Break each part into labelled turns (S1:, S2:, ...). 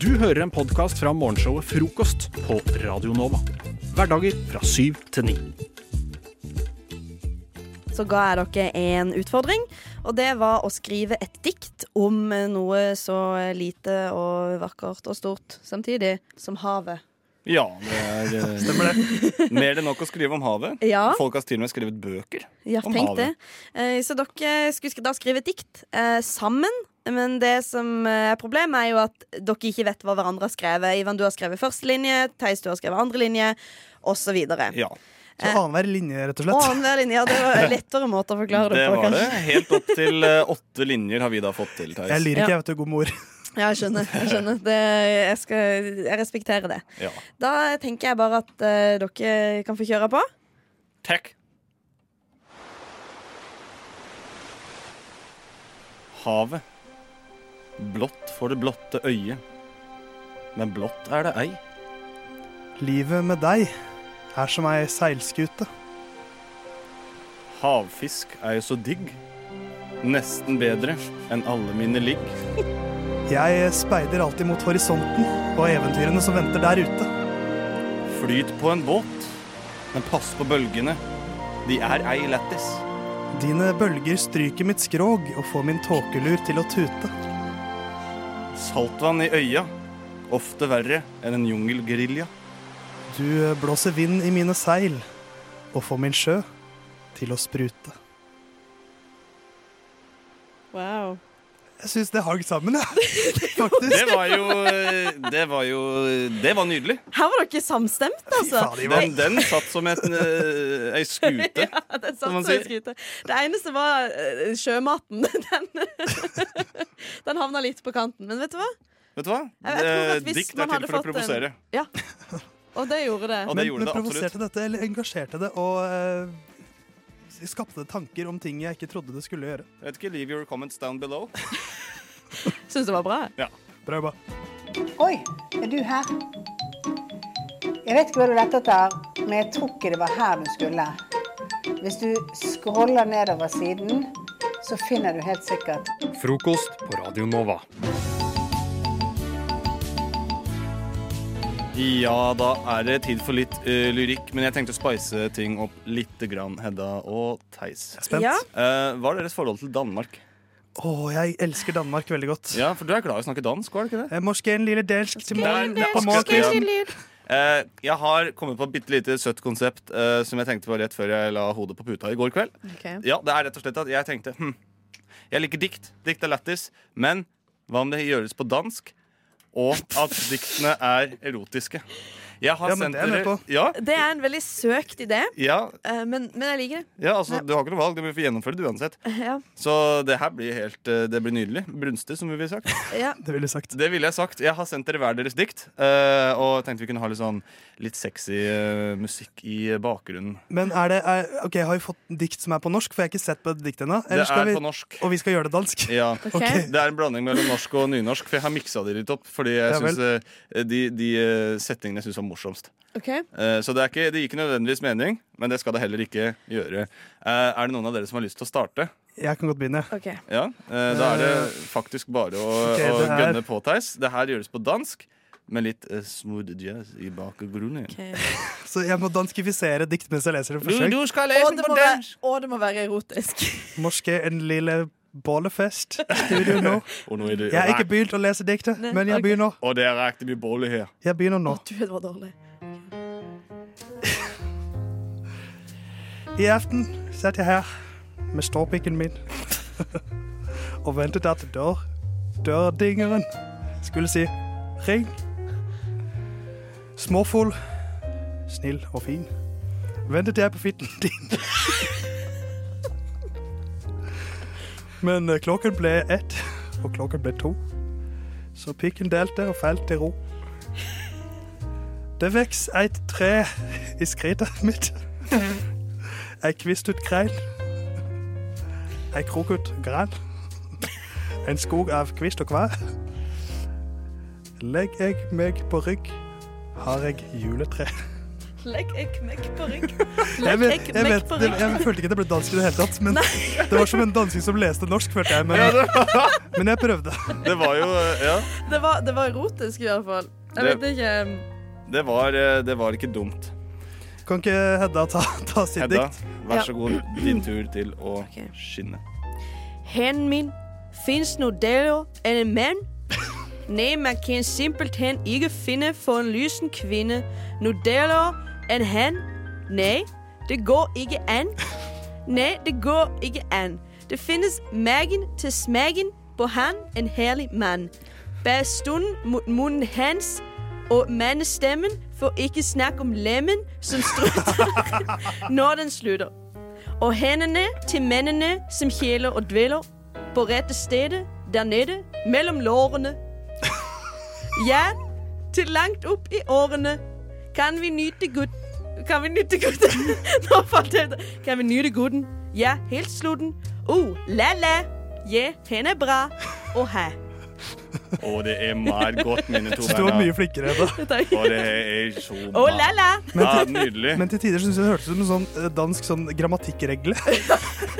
S1: Du hører en podkast fra morgenshowet Frokost på Radio Nova. Hverdager fra syv til ni.
S2: så ga jeg dere en utfordring. Og det var å skrive et dikt om noe så lite og vakkert og stort samtidig som havet.
S3: Ja, det er eh,
S4: Stemmer det.
S3: mer enn nok å skrive om havet.
S2: Ja,
S3: Folk har til og med skrevet bøker.
S2: ja
S3: om
S2: tenk
S3: havet.
S2: det. Eh, Så dere skulle sk- da skrive et dikt eh, sammen. Men det som eh, er problemet, er jo at dere ikke vet hva hverandre har skrevet. Ivan, du har skrevet første linje, Theis, du har skrevet andre linje, osv.
S3: Ja,
S4: Så annenhver linje, rett og
S2: Og
S4: slett.
S2: Eh, annenhver linje. Ja, det var en lettere måte å forklare det,
S3: det
S2: på,
S3: var det.
S2: kanskje.
S3: Helt opp til eh, åtte linjer har vi da fått til,
S4: Jeg
S3: Theis.
S4: lir ikke, jeg vet du, god mor.
S2: Ja, jeg skjønner. Jeg, skjønner. Det, jeg, skal, jeg respekterer det.
S3: Ja.
S2: Da tenker jeg bare at eh, dere kan få kjøre på.
S3: Takk. Havet. Blått for det blotte øyet. Men blått er det ei.
S4: Livet med deg er som ei seilskute.
S3: Havfisk er jo så digg. Nesten bedre enn alle mine ligg.
S4: Jeg speider alltid mot horisonten og eventyrene som venter der ute.
S3: Flyt på en båt, men pass på bølgene. De er ei lættis.
S4: Dine bølger stryker mitt skrog og får min tåkelur til å tute.
S3: Saltvann i øya. Ofte verre enn en jungelgerilja.
S4: Du blåser vind i mine seil og får min sjø til å sprute.
S2: Wow.
S4: Jeg syns det hang sammen, jeg. Faktisk.
S3: Det var jo eh, Det var jo Det var nydelig.
S2: Her var dere samstemt, altså.
S4: faen, Ivan.
S3: Den, den satt som en, eh, ei skute.
S2: Ja, det,
S3: Som man
S2: satt som en
S3: sier.
S2: skute. det eneste var eh, sjømaten. Den, den havna litt på kanten. Men vet du hva?
S3: Vet du hva?
S2: Jeg- jeg tror at
S3: Det-
S2: hvis
S3: Dikt
S2: man
S3: er
S2: hadde
S3: til for å
S2: fått en-
S3: provosere.
S2: Ja. Og det gjorde det.
S3: Og det
S4: Men,
S3: gjorde
S4: men
S3: det absolutt.
S4: provoserte dette, eller engasjerte det, og eh, skapte tanker om ting jeg ikke trodde det skulle gjøre.
S3: Jeg vet ikke, Leave your comments down below.
S2: Syns det var bra.
S4: Bra jobba.
S5: Oi, er du her? Jeg vet ikke hva du lette etter, men jeg tror ikke det var her du skulle. Hvis du scroller nedover siden, så finner du helt sikkert
S6: Frokost på Radio Nova.
S3: Ja, da er det tid for litt eh, lyrikk, men jeg tenkte å spice ting opp litt, grann, Hedda og Theis.
S4: Spent.
S2: Ja.
S3: Eh, hva er deres forhold til Danmark?
S4: Å, jeg elsker Danmark veldig godt.
S3: Ja, for du er glad i å snakke dansk, var det ikke det?
S4: Eh, Morsken lille delsk
S3: Morsken
S4: til morgen
S3: lille
S4: på
S3: delsk til
S4: morgen.
S3: Eh, jeg har kommet på et bitte lite søtt konsept eh, som jeg tenkte på rett før jeg la hodet på puta i går kveld.
S2: Ok.
S3: Ja, det er rett og slett at jeg tenkte hm, Jeg liker dikt. Dikt er lættis. Men hva om det gjøres på dansk? Og at diktene er erotiske. Jeg har
S4: Ja, men
S3: sendt
S4: det er jeg med
S3: dere-
S4: på.
S3: Ja,
S2: Det er en veldig søkt idé,
S3: ja,
S2: eh, men, men jeg liker det.
S3: ja, altså, du har ikke noe valg. Du må få gjennomføre det uansett.
S2: Ja.
S3: Så det her blir helt eh, Det blir nydelig. Brunstig, som vi ville sagt.
S2: Ja.
S4: Det ville jeg sagt.
S3: Det ville jeg sagt. Jeg har sendt dere hver deres dikt. eh, og tenkte vi kunne ha litt sånn litt sexy eh, musikk i bakgrunnen.
S4: Men er det er, Ok, har vi fått dikt som er på norsk? For jeg har ikke sett på dikt ennå.
S3: Det
S4: Eller skal
S3: er
S4: vi-
S3: på norsk.
S4: Og vi skal gjøre det dansk?
S3: Ja.
S2: Ok.
S3: Det er en blanding mellom norsk og nynorsk, for jeg har miksa de litt opp. Fordi jeg
S4: Ja vel.
S3: synes, eh, de, de eh, setningene jeg syns var morsomst.
S2: ok.
S3: Eh, Så det, er ikke, det gir ikke nødvendigvis mening, men det skal det heller ikke gjøre. Eh, Er det noen av dere som har lyst til å starte?
S4: Jeg kan godt begynne.
S2: ok.
S3: Ja, eh, Da er det faktisk bare å,
S4: Ok,
S3: å
S4: det her-
S3: gønne på, Theis. Det her gjøres på dansk. Med litt eh, smooth jazz i bakgrunnen.
S4: Så jeg må danskifisere dikt mens jeg leser det.
S3: Du,
S4: Forsøk.
S3: du skal lese
S2: Og
S3: den
S2: det
S3: på
S2: må være,
S3: dansk!
S2: og det må være erotisk.
S4: Morske en lille bollefest. Studio nå.
S3: Og, nå er det,
S4: Jeg har ikke begynt å lese diktet,
S2: Nei,
S4: men jeg
S2: ok.
S4: begynner.
S3: og det er riktig mye bolle her.
S4: Jeg begynner nå.
S2: Du, det var dårlig.
S4: I aften satt jeg her med ståpikken min og ventet at dør, dørdingeren skulle si ring. Småfull, snill og fin ventet jeg på fitten din. Men eh, klokken ble ett, og klokken ble to. Så pikken delte og falt til ro. Det veks eit tre i skrittet mitt. Ei kvist ut grein. Ei krok ut gran. En skog av kvist og kvar. Legg jeg meg på rygg, har jeg juletre.
S2: Legg en knekk på rygg.
S4: Jeg,
S2: Legg en
S4: vet, jeg,
S2: knekk
S4: vet,
S2: på
S4: det,
S2: rygg.
S4: jeg følte ikke at det ble dansk i det hele tatt. Men det var som en dansing som leste norsk, følte jeg. Men, men jeg prøvde.
S3: Det var jo eh, Ja.
S2: Det var, det var rot jeg skulle gjøre, i hvert fall. Jeg
S3: Det-
S2: vet ikke um,
S3: Det var, eh, det var ikke dumt.
S4: Kan ikke Hedda ta, ta sitt
S3: Hedda,
S4: dikt?
S3: vær
S2: Ja.
S3: så god. Din tur til å
S2: Ok.
S3: skinne.
S2: Hænden min fins noe deler enn en mann. Nei, man kan simpelthen ikke finne for en lysen kvinne noe deler enn han. Nei, det går ikke an. Nei, det går ikke an. Det finnes magen til smaken på han, en herlig mann. Bare stunden mot munnen hans og mannestemmen, for ikke snakk om lemmen som strutter når den slutter og hendene til mennene som kjeler og dveler på rette stedet der nede mellom lårene. Ja, til langt opp i årene kan vi nyte gutt... Kan vi nyte gutten? Nå falt jeg ut. Kan vi nyte gutten? Ja, helt slutten. Uh, la-la. Ja, hen er bra. Å hæ.
S3: Å, det er mer godt, mine to
S4: Du var mye
S3: venner.
S4: flinkere, Hedda.
S3: Å, det er så
S2: Å
S3: bra.
S2: la-la.
S3: Ja, nydelig.
S4: Men til tider syns jeg det hørtes ut som en sånn eh, dansk sånn grammatikkregle.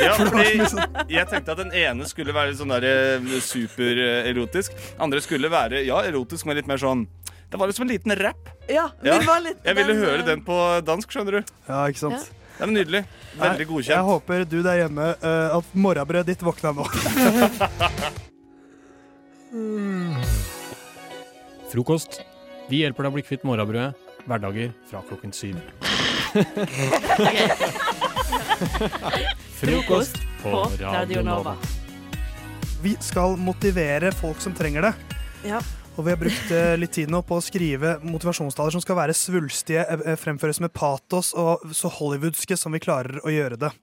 S3: Ja,
S4: sånn-
S3: fordi jeg tenkte at den ene skulle være sånn der eh, supererotisk. Andre skulle være, ja, erotisk, men litt mer sånn Det var liksom en liten rap.
S2: Ja,
S3: Ja,
S2: min var litt
S3: Jeg ville høre
S2: eh,
S3: den på dansk, skjønner du.
S4: Ja, ikke sant?
S3: Det er nydelig. Veldig
S4: Jeg
S3: godkjent.
S4: håper du der hjemme eh, at morrabrødet ditt våkna nå. Mm.
S1: Frokost. Vi hjelper deg å bli kvitt morgenbrødet. Hverdager fra klokken syv. Frokost på Radio Nova.
S4: Vi skal motivere folk som trenger det.
S2: Ja.
S4: Og vi har brukt eh, litt tid nå på å skrive motivasjonstaler som skal være svulstige, eh, eh, fremføres med patos og så hollywoodske som vi klarer å gjøre det.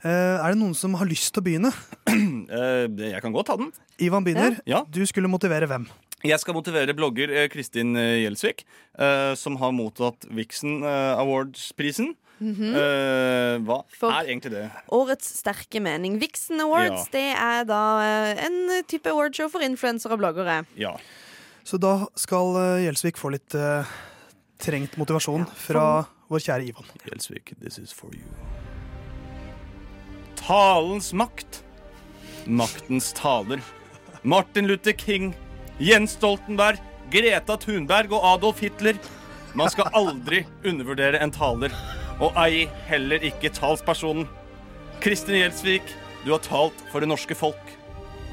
S4: Eh, er det noen som har lyst til å begynne?
S3: Eh, Jeg kan godt ta den.
S4: Ivan begynner.
S3: Ja.
S4: Du skulle motivere hvem?
S3: Jeg skal motivere blogger eh, Kristin eh, Gjelsvik, eh, som har mottatt Vixen eh, Awards-prisen.
S1: Mhm.
S3: Eh, Hva
S2: For-
S3: er egentlig det?
S2: Mhm. Årets sterke mening. Vixen Awards det er da eh, en type awardshow for influensere og bloggere.
S3: Ja.
S4: Så da skal eh, Gjelsvik få litt eh, trengt motivasjon fra vår kjære Ivan.
S3: Gjelsvik, this is for you. Talens makt. Maktens taler. Martin Luther King, Jens Stoltenberg, Greta Thunberg og Adolf Hitler. Man skal aldri undervurdere en taler, og ei heller ikke talspersonen. Kristin Gjelsvik, du har talt for det norske folk.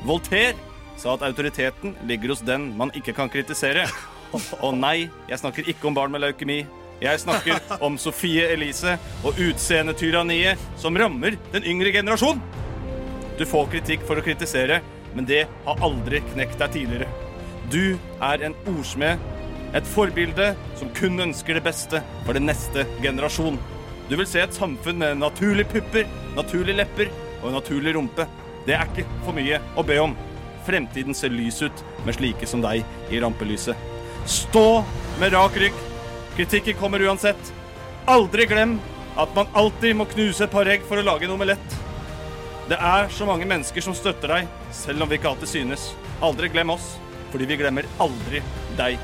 S3: Voltaire sa at autoriteten ligger hos den man ikke kan kritisere. Og nei, jeg snakker ikke om barn med leukemi. Jeg snakker om Sofie Elise og utseendetyranniet som rammer den yngre generasjon. Du får kritikk for å kritisere, men det har aldri knekt deg tidligere. Du er en ordsmed, et forbilde som kun ønsker det beste for den neste generasjon. Du vil se et samfunn med naturlige pupper, naturlige lepper og en naturlig rumpe. Det er ikke for mye å be om. Fremtiden ser lys ut med slike som deg i rampelyset. Stå med rak rygg. Kritikken kommer uansett. Aldri glem at man alltid må knuse et par egg for å lage en omelett. Det er så mange mennesker som støtter deg, selv om vi ikke alltid synes. Aldri glem oss, fordi vi glemmer aldri deg.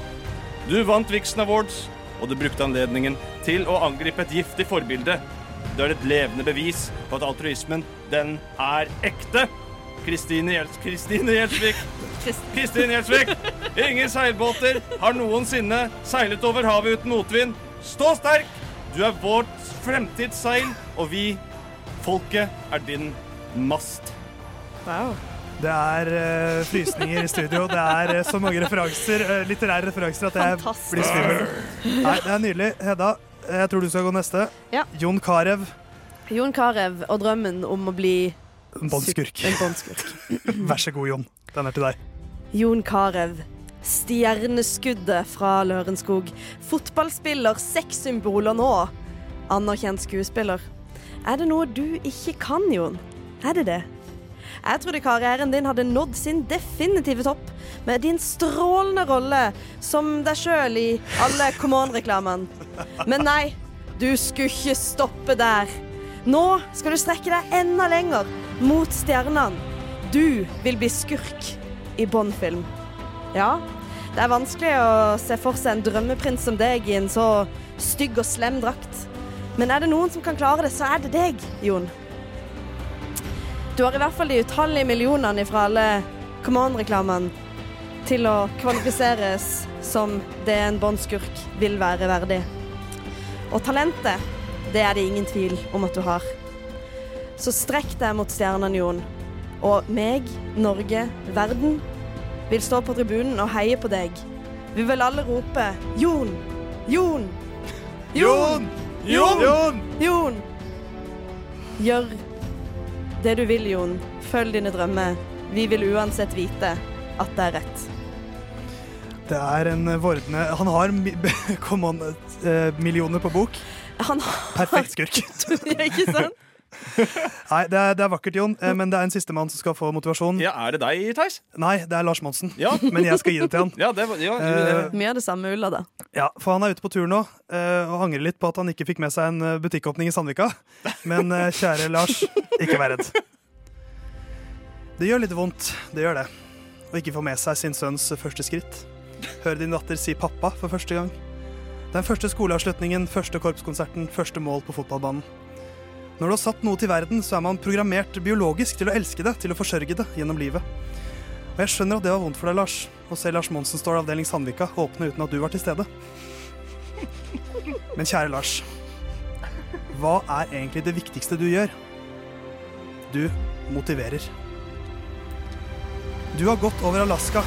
S3: Du vant Vixen Awards, og du brukte anledningen til å angripe et giftig forbilde. Du er et levende bevis på at altruismen, den er ekte. Kristine Gjels- Kristine Gjelsvik. Kristin Gjelsvik. Ingen seilbåter har noensinne seilet over havet uten motvind. Stå sterk! Du er vårt fremtidsseil, og vi, folket, er din mast.
S4: Det er eh, frysninger i studio. Det er eh, så mange referanser, eh, litterære referanser at jeg
S2: Fantastisk.
S4: blir svimmel. Nei, det er nydelig. Hedda, eh, jeg tror du skal gå neste.
S2: Ja.
S4: Jon Carew,
S2: Jon Carew og drømmen om å bli
S4: en båndskurk.
S2: en båndskurk.
S4: Vær så god, Jon. Den er til deg.
S2: Jon Carew. Stjerneskuddet fra Lørenskog. Fotballspiller, seks symboler nå. Anerkjent skuespiller. Er det noe du ikke kan, Jon? Er det det? Jeg trodde karrieren din hadde nådd sin definitive topp med din strålende rolle som deg sjøl i alle Come On-reklamene. Men nei, du skulle ikke stoppe der. Nå skal du strekke deg enda lenger, mot stjernene. Du vil bli skurk i Bond-film. Ja, Det er vanskelig å se for seg en drømmeprins som deg i en så stygg og slem drakt. Men er det noen som kan klare det, så er det deg, Jon. Du har i hvert fall de utallige millionene fra alle Command-reklamene til å kvalifiseres som det en båndskurk vil være verdig. Og talentet, det er det ingen tvil om at du har. Så strekk deg mot stjernene, Jon. Og meg, Norge, verden vil stå på tribunen og heie på deg. Vi vil alle rope Jon! Jon! Jon!
S4: Jon!
S2: Jon! Gjør det du vil, Jon. Følg dine drømmer. Vi vil uansett vite at det er rett.
S4: Det er en eh, vordende Han har mi- kom an, eh, millioner på bok.
S2: Han har
S4: Perfekt skurk.
S2: Ikke sant?
S4: Nei, det er, det er vakkert, Jon, eh, men det er en sistemann som skal få motivasjon.
S3: Ja, er det deg, Theis?
S4: Nei, det er Lars Monsen.
S3: Ja.
S4: Men jeg skal gi det til han.
S3: Ja, det var ja,
S4: Eh,
S2: Mye av det samme ulla, da.
S4: Ja, For han er ute på tur nå eh, og angrer litt på at han ikke fikk med seg en eh, butikkåpning i Sandvika. Men eh, kjære Lars, ikke vær redd. Det gjør litt vondt, det gjør det. Å ikke få med seg sin sønns første skritt. Høre din datter si 'pappa' for første gang. Den første skoleavslutningen, første korpskonserten, første mål på fotballbanen. Når du har satt noe til verden, så er man programmert biologisk til å elske det, til å forsørge det gjennom livet. Og jeg skjønner at det var vondt for deg, Lars. Å se Lars Monsen står i avdeling Sandvika og åpne uten at du var til stede. Men kjære Lars, hva er egentlig det viktigste du gjør? Du motiverer. Du har gått over Alaska.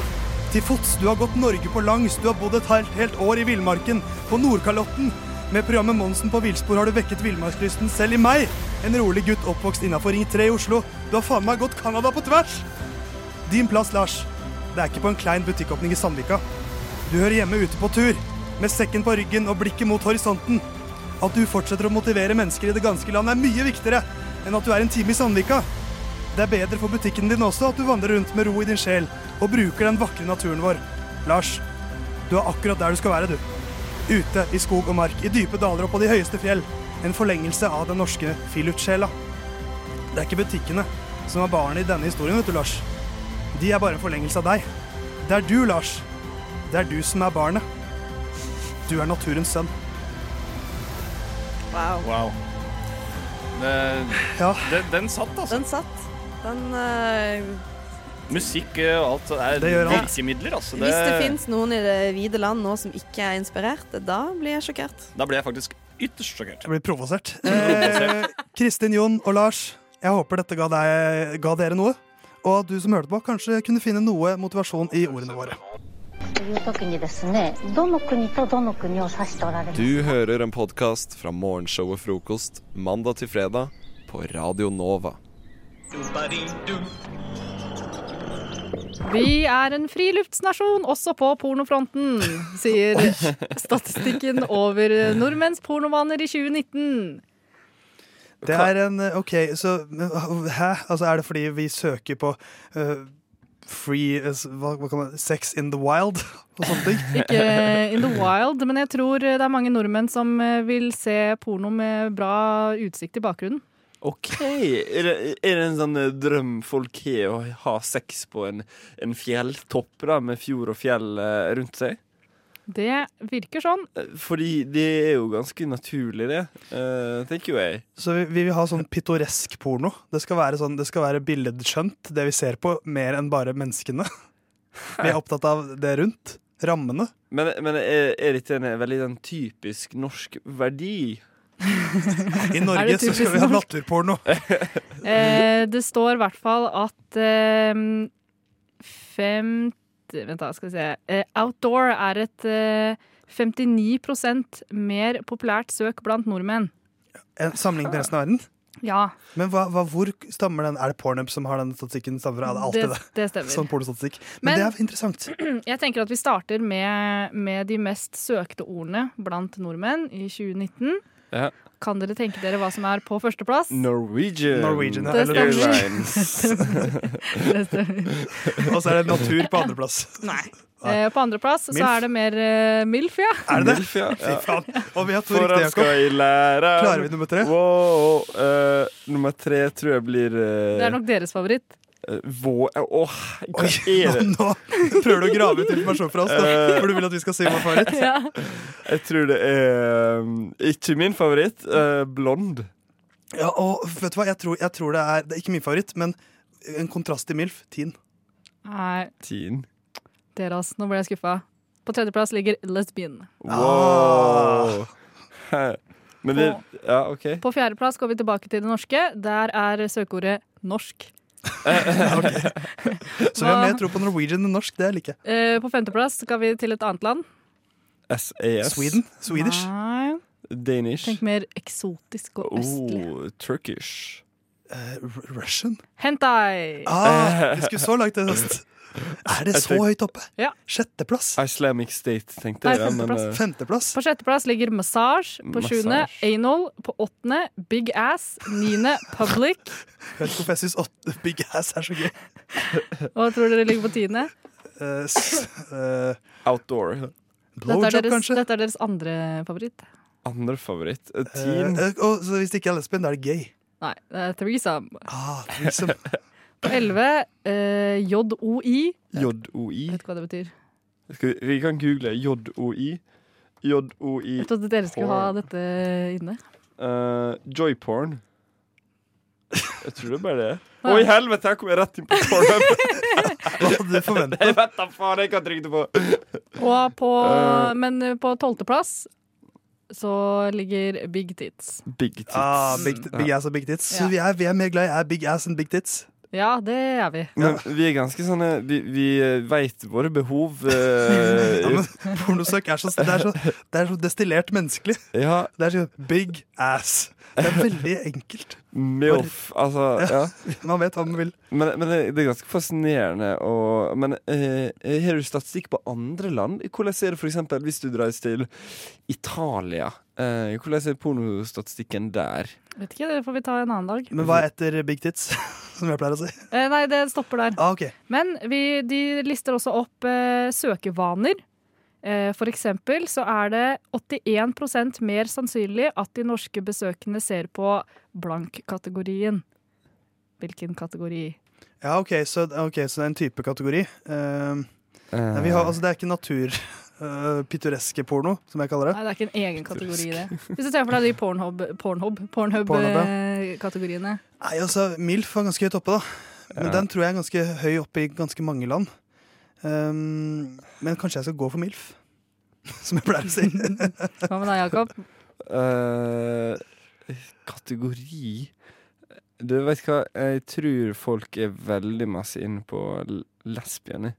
S4: Til fots. Du har gått Norge på langs. Du har bodd et helt, helt år i villmarken. På Nordkalotten. Med programmet Monsen på villspor har du vekket villmarkslysten selv i meg. En rolig gutt oppvokst innafor Ring 3 i Oslo. Du har faen meg gått Canada på tvers! Din plass, Lars. Det er ikke på en klein butikkåpning i Sandvika. Du hører hjemme ute på tur, med sekken på ryggen og blikket mot horisonten. At du fortsetter å motivere mennesker i det ganske land er mye viktigere enn at du er en time i Sandvika. Det er bedre for butikken din også at du vandrer rundt med ro i din sjel og bruker den vakre naturen vår. Lars, du er akkurat der du skal være, du. Ute i skog og mark, i dype daler og på de høyeste fjell. En forlengelse av den norske friluftssjela. Det er ikke butikkene som er barnet i denne historien, vet du, Lars. De er bare en forlengelse av deg. Det er du, Lars. Det er du som er barnet. Du er naturens sønn.
S2: Wow.
S3: Wow. Det,
S4: Ja.
S3: det, den satt, altså.
S2: Den satt. Den eh,
S3: Musikk eh, og alt er
S4: Det gjør han.
S3: virkemidler, altså.
S2: Hvis det fins noen i det vide land nå som ikke er inspirert, da blir jeg sjokkert.
S3: da ble jeg faktisk ytterst sjokkert.
S4: Jeg blir provosert. Eh, Kristin, Jon og Lars, jeg håper dette ga, deg, ga dere noe. Og at du som hørte på, kanskje kunne finne noe motivasjon i ordene våre.
S7: という時にですねどの国とどの国を指しておられる
S8: Du hører en podkast fra morgenshow og frokost mandag til fredag på Radio Nova.
S9: Vi er en friluftsnasjon også på pornofronten, sier statistikken over nordmenns pornovaner i 2019.
S4: Det er en eh, OK, så men, Hæ? Altså, er det fordi vi søker på eh, free eh, hva, hva kan man, Sex in the wild og sånne ting?
S9: Ikke in the wild, men jeg tror det er mange nordmenn som eh, vil se porno med bra utsikt i bakgrunnen.
S10: OK. Er det, er det en sånn eh, drøm folk har, å ha sex på en, en fjelltopp da, med fjord og fjell eh, rundt seg?
S9: Det virker sånn.
S10: Eh, Fordi det er jo ganske naturlig, det, eh, tenker jo jeg.
S4: Så vi, vi vil ha sånn pittoresk porno. Det skal være, sånn, det skal være billedskjønt, det vi ser på, mer enn bare menneskene. Vi er opptatt av det rundt. Rammene.
S10: Men, men er, er dette en veldig sånn typisk norsk verdi?
S4: I
S9: Er
S4: Norge
S9: det
S4: så skal vi ha naturporno.
S9: Eh, det står i hvert fall at eh, fem Vent, da, skal vi se. Eh, outdoor er et eh, 59 mer populært søk blant nordmenn.
S4: Eh, Sammenlignet med resten av verden.
S9: Ja,
S4: Men hva, hva, hvor stammer den? Er det Pornhub som har den statistikken? Stammer fra? Ja, det er alltid det.
S9: stemmer.
S4: Sånn pornostatistikk. Men,
S9: Men-
S4: det er interessant.
S9: Jeg tenker at vi starter med, med de mest søkte ordene blant nordmenn i 2019.
S10: Ja.
S9: Kan dere tenke dere hva som er på førsteplass?
S10: Norwegian.
S4: Norwegian, ja,
S9: Det
S4: eller-
S9: stemmer.
S10: Airlines.
S9: Neste.
S4: Og så er det natur på andreplass.
S9: Nei. Eh, på andreplass så
S4: Milf.
S9: er det mer eh, MILF, ja.
S4: Er det det?
S10: Milf, ja.
S4: Fy faen. Og vi har to
S10: Foran
S4: riktige, Jakob.
S10: skal i lære.
S4: Klarer vi nummer tre?
S10: Wow, eh, nummer tre tror jeg blir eh,
S9: Det er nok deres favoritt.
S10: eh, Vår Åh, hva
S4: Nå,
S10: er det? Eh.
S4: nå prøver du å grave ut informasjon fra oss, da, for du vil at vi skal si hva faret
S9: Ja.
S10: Jeg tror det er um, ikke min favoritt. eh, blond.
S4: Ja, og vet du hva, jeg tror, jeg tror det er Det er ikke min favoritt, men en kontrast til MILF. Teen.
S9: Nei,
S10: Teen.
S9: dere altså, nå ble jeg skuffa. På tredjeplass ligger Lesbian.
S4: Ah.
S10: Wow. Men det Ja, OK.
S9: På fjerdeplass går vi tilbake til det norske. Der er søkeordet norsk.
S4: Så vi har
S9: Hva-
S4: mer tro på Norwegian enn norsk. Det liker jeg.
S9: Eh, På femteplass skal vi til et annet land.
S10: SAS.
S4: Sweden? Swedish?
S9: Nei,
S10: Danish.
S9: Ah. tenk mer eksotisk og østlig.
S10: Oh, Turkish.
S4: Eh, Ru- Russian?
S10: Eh,
S9: Hentai!
S4: Ah, vi skulle så langt i høst. Er det
S10: Jeg
S4: så
S10: tenk-
S4: høyt oppe?
S9: Ja.
S4: Sjetteplass?
S10: Islamic State, tenkte
S9: Nei,
S10: jeg. Men,
S9: femteplass.
S10: eh,
S4: Femteplass?
S9: På sjetteplass ligger massage. På
S10: Massage.
S9: sjuende anal. På åttende big ass. Niende public.
S4: Jeg vet ikke hvorfor jeg syns åtte Big Ass er så gøy.
S9: Hva tror dere ligger på tiende?
S4: Eh, s- eh,
S10: outdoor.
S9: Dette er
S4: blowjob,
S9: deres,
S4: kanskje?
S9: dette er deres andre favoritt.
S10: Andre favoritt. eh, Teen.
S4: Eh, eh, og så hvis det ikke er lesbien, da er det gay.
S9: Nei, det er threesome.
S4: Ah, threesome.
S9: På elleve eh, JOI.
S10: JOI.
S9: Vet du hva det betyr?
S10: Skal vi, vi kan google JOI. JOI.
S9: Jeg trodde dere skulle ha dette inne.
S10: Uh, joyporn. Jeg tror det er bare det.
S9: Ja.
S10: Å, i helvete! Her kom jeg rett inn på pornhub.
S4: Hva hadde du forventet?
S10: Jeg vet da faen jeg kan trykke på.
S9: Og på,
S10: Eh.
S9: men på tolvteplass så ligger Big Tits.
S10: Big tits.
S4: Ah, big, big ass og big tits.
S9: Ja.
S4: Så vi er, vi er mer glad i er big ass enn big tits.
S9: Ja, det er vi.
S10: Men vi er ganske sånne Vi, vi veit våre behov. eh,
S4: Ja, men pornosøk er så, det er så, det er så destillert menneskelig.
S10: ja,
S4: Det er sånn big ass. Det er veldig enkelt.
S10: MILF, altså. Ja.
S4: Man vet hva man vil.
S10: Men, men det, det er ganske fascinerende. Og, men eh, har du statistikk på andre land? Hvordan er det for eksempel hvis du dreier til Italia? Eh, hvordan er pornostatistikken der?
S9: Vet ikke, Det får vi ta en annen dag.
S4: Men hva er etter big tits? Som jeg pleier å si.
S9: Eh, nei, det stopper der.
S4: Ah, ok.
S9: Men vi, de lister også opp eh, søkevaner. Eh, for eksempel så er det 81 mer sannsynlig at de norske besøkende ser på blank-kategorien. Hvilken kategori?
S4: Ja, ok, så, ok, så det er en type kategori. Eh,
S10: Eh,
S4: nei, vi har, altså, det er ikke natur... eh, pittoreske porno, som jeg kaller det.
S9: Nei, det er ikke en egen kategori, det. Hvis du ser for deg de Pornhub- Pornhub- eh, Pornhub-kategoriene.
S4: Nei, altså, MILF var ganske høyt oppe, da. Men
S10: Ja.
S4: den tror jeg er ganske høy oppe i ganske mange land. Ehm, men kanskje jeg skal gå for MILF, som jeg pleier å si.
S9: Hva med deg, Jakob?
S10: eh, kategori Du vet hva, jeg tror folk er veldig masse inne på l- lesbiene.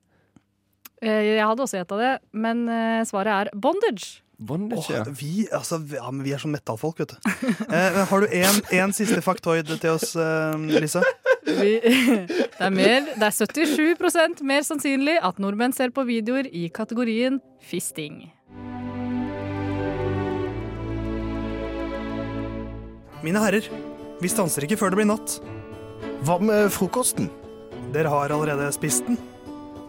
S9: Eh, jeg hadde også gjetta det, men eh, svaret er bondage.
S10: Bondage, ja.
S4: Åh, vi, altså, vi- ja, men vi er sånn metallfolk, vet du. Eh, men har du en, en siste faktoid til oss, eh, Lise?
S9: Vi, det, er mer, det er 77 mer sannsynlig at nordmenn ser på videoer i kategorien fisting.
S4: Mine herrer, vi stanser ikke før det blir natt.
S11: Hva med frokosten?
S4: Dere har allerede spist den.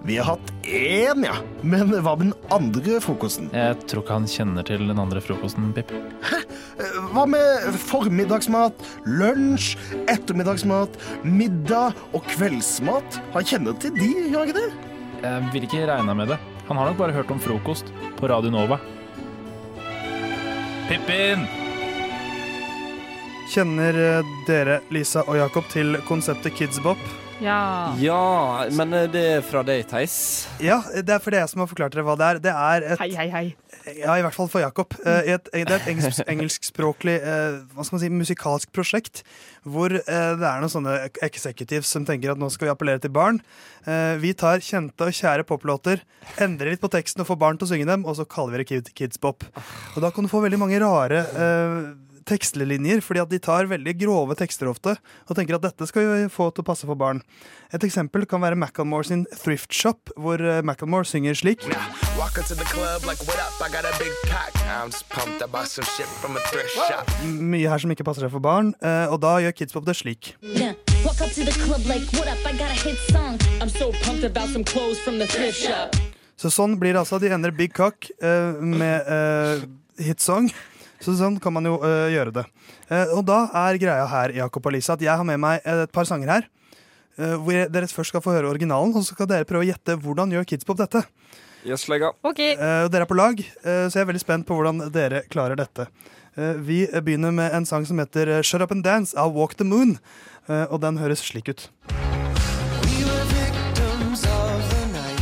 S11: Vi har hatt én, ja. Men hva med den andre frokosten?
S1: Jeg tror ikke han kjenner til den andre frokosten, Pip.
S11: Eh, Hva med formiddagsmat, lunsj, ettermiddagsmat, middag og kveldsmat? Han kjenner til de, gjør han ikke det?
S1: Jeg vil ikke regne med det. Han har nok bare hørt om frokost på Radio Nova. Pippin!
S4: Kjenner eh, dere, Lisa og Jakob, til konseptet Kidsbop?
S9: Ja.
S10: Ja, men eh, det er fra deg, Theis.
S4: Ja, det er for det jeg som har forklart dere hva det er. Det er et
S9: Hei, hei, hei.
S4: Ja, i hvert fall for Jakob. Eh, i et, det er et engelsk, engelskspråklig eh, hva skal man si, musikalsk prosjekt hvor eh, det er noen sånne executives som tenker at nå skal vi appellere til barn. Eh, vi tar kjente og kjære poplåter, endrer litt på teksten og får barn til å synge dem, og så kaller vi det kid, kidspop. Og da kan du få veldig mange rare eh, tekstlinjer, fordi at de tar veldig grove tekster ofte og tenker at dette skal vi få til å passe for barn. Et eksempel kan være Macclemore sin Thrift Shop, hvor eh, Macclemore synger slik. mye her som ikke passer seg for barn, eh, og da gjør Kidspop det slik.
S12: Yeah. Walk up to the club like, what up? I got a hit song. I'm so pumped about some clothes from the thrift shop.
S4: Så sånn blir det altså. De endrer Big Cock eh, med eh, hitsong. Så sånn kan man jo eh, gjøre det. Eh, og da er greia her, Jakob og Lisa, at jeg har med meg et par sanger her. eh, hvor jeg- dere først skal få høre originalen, og så skal dere prøve å gjette hvordan gjør Kidspop dette.
S10: Gjødslegga.
S4: Eh, og dere er på lag, eh, så jeg er veldig spent på hvordan dere klarer dette. Eh, vi begynner med en sang som heter eh, Shut Up and Dance av Walk the Moon, eh, og den høres slik ut.
S13: We were victims of the night.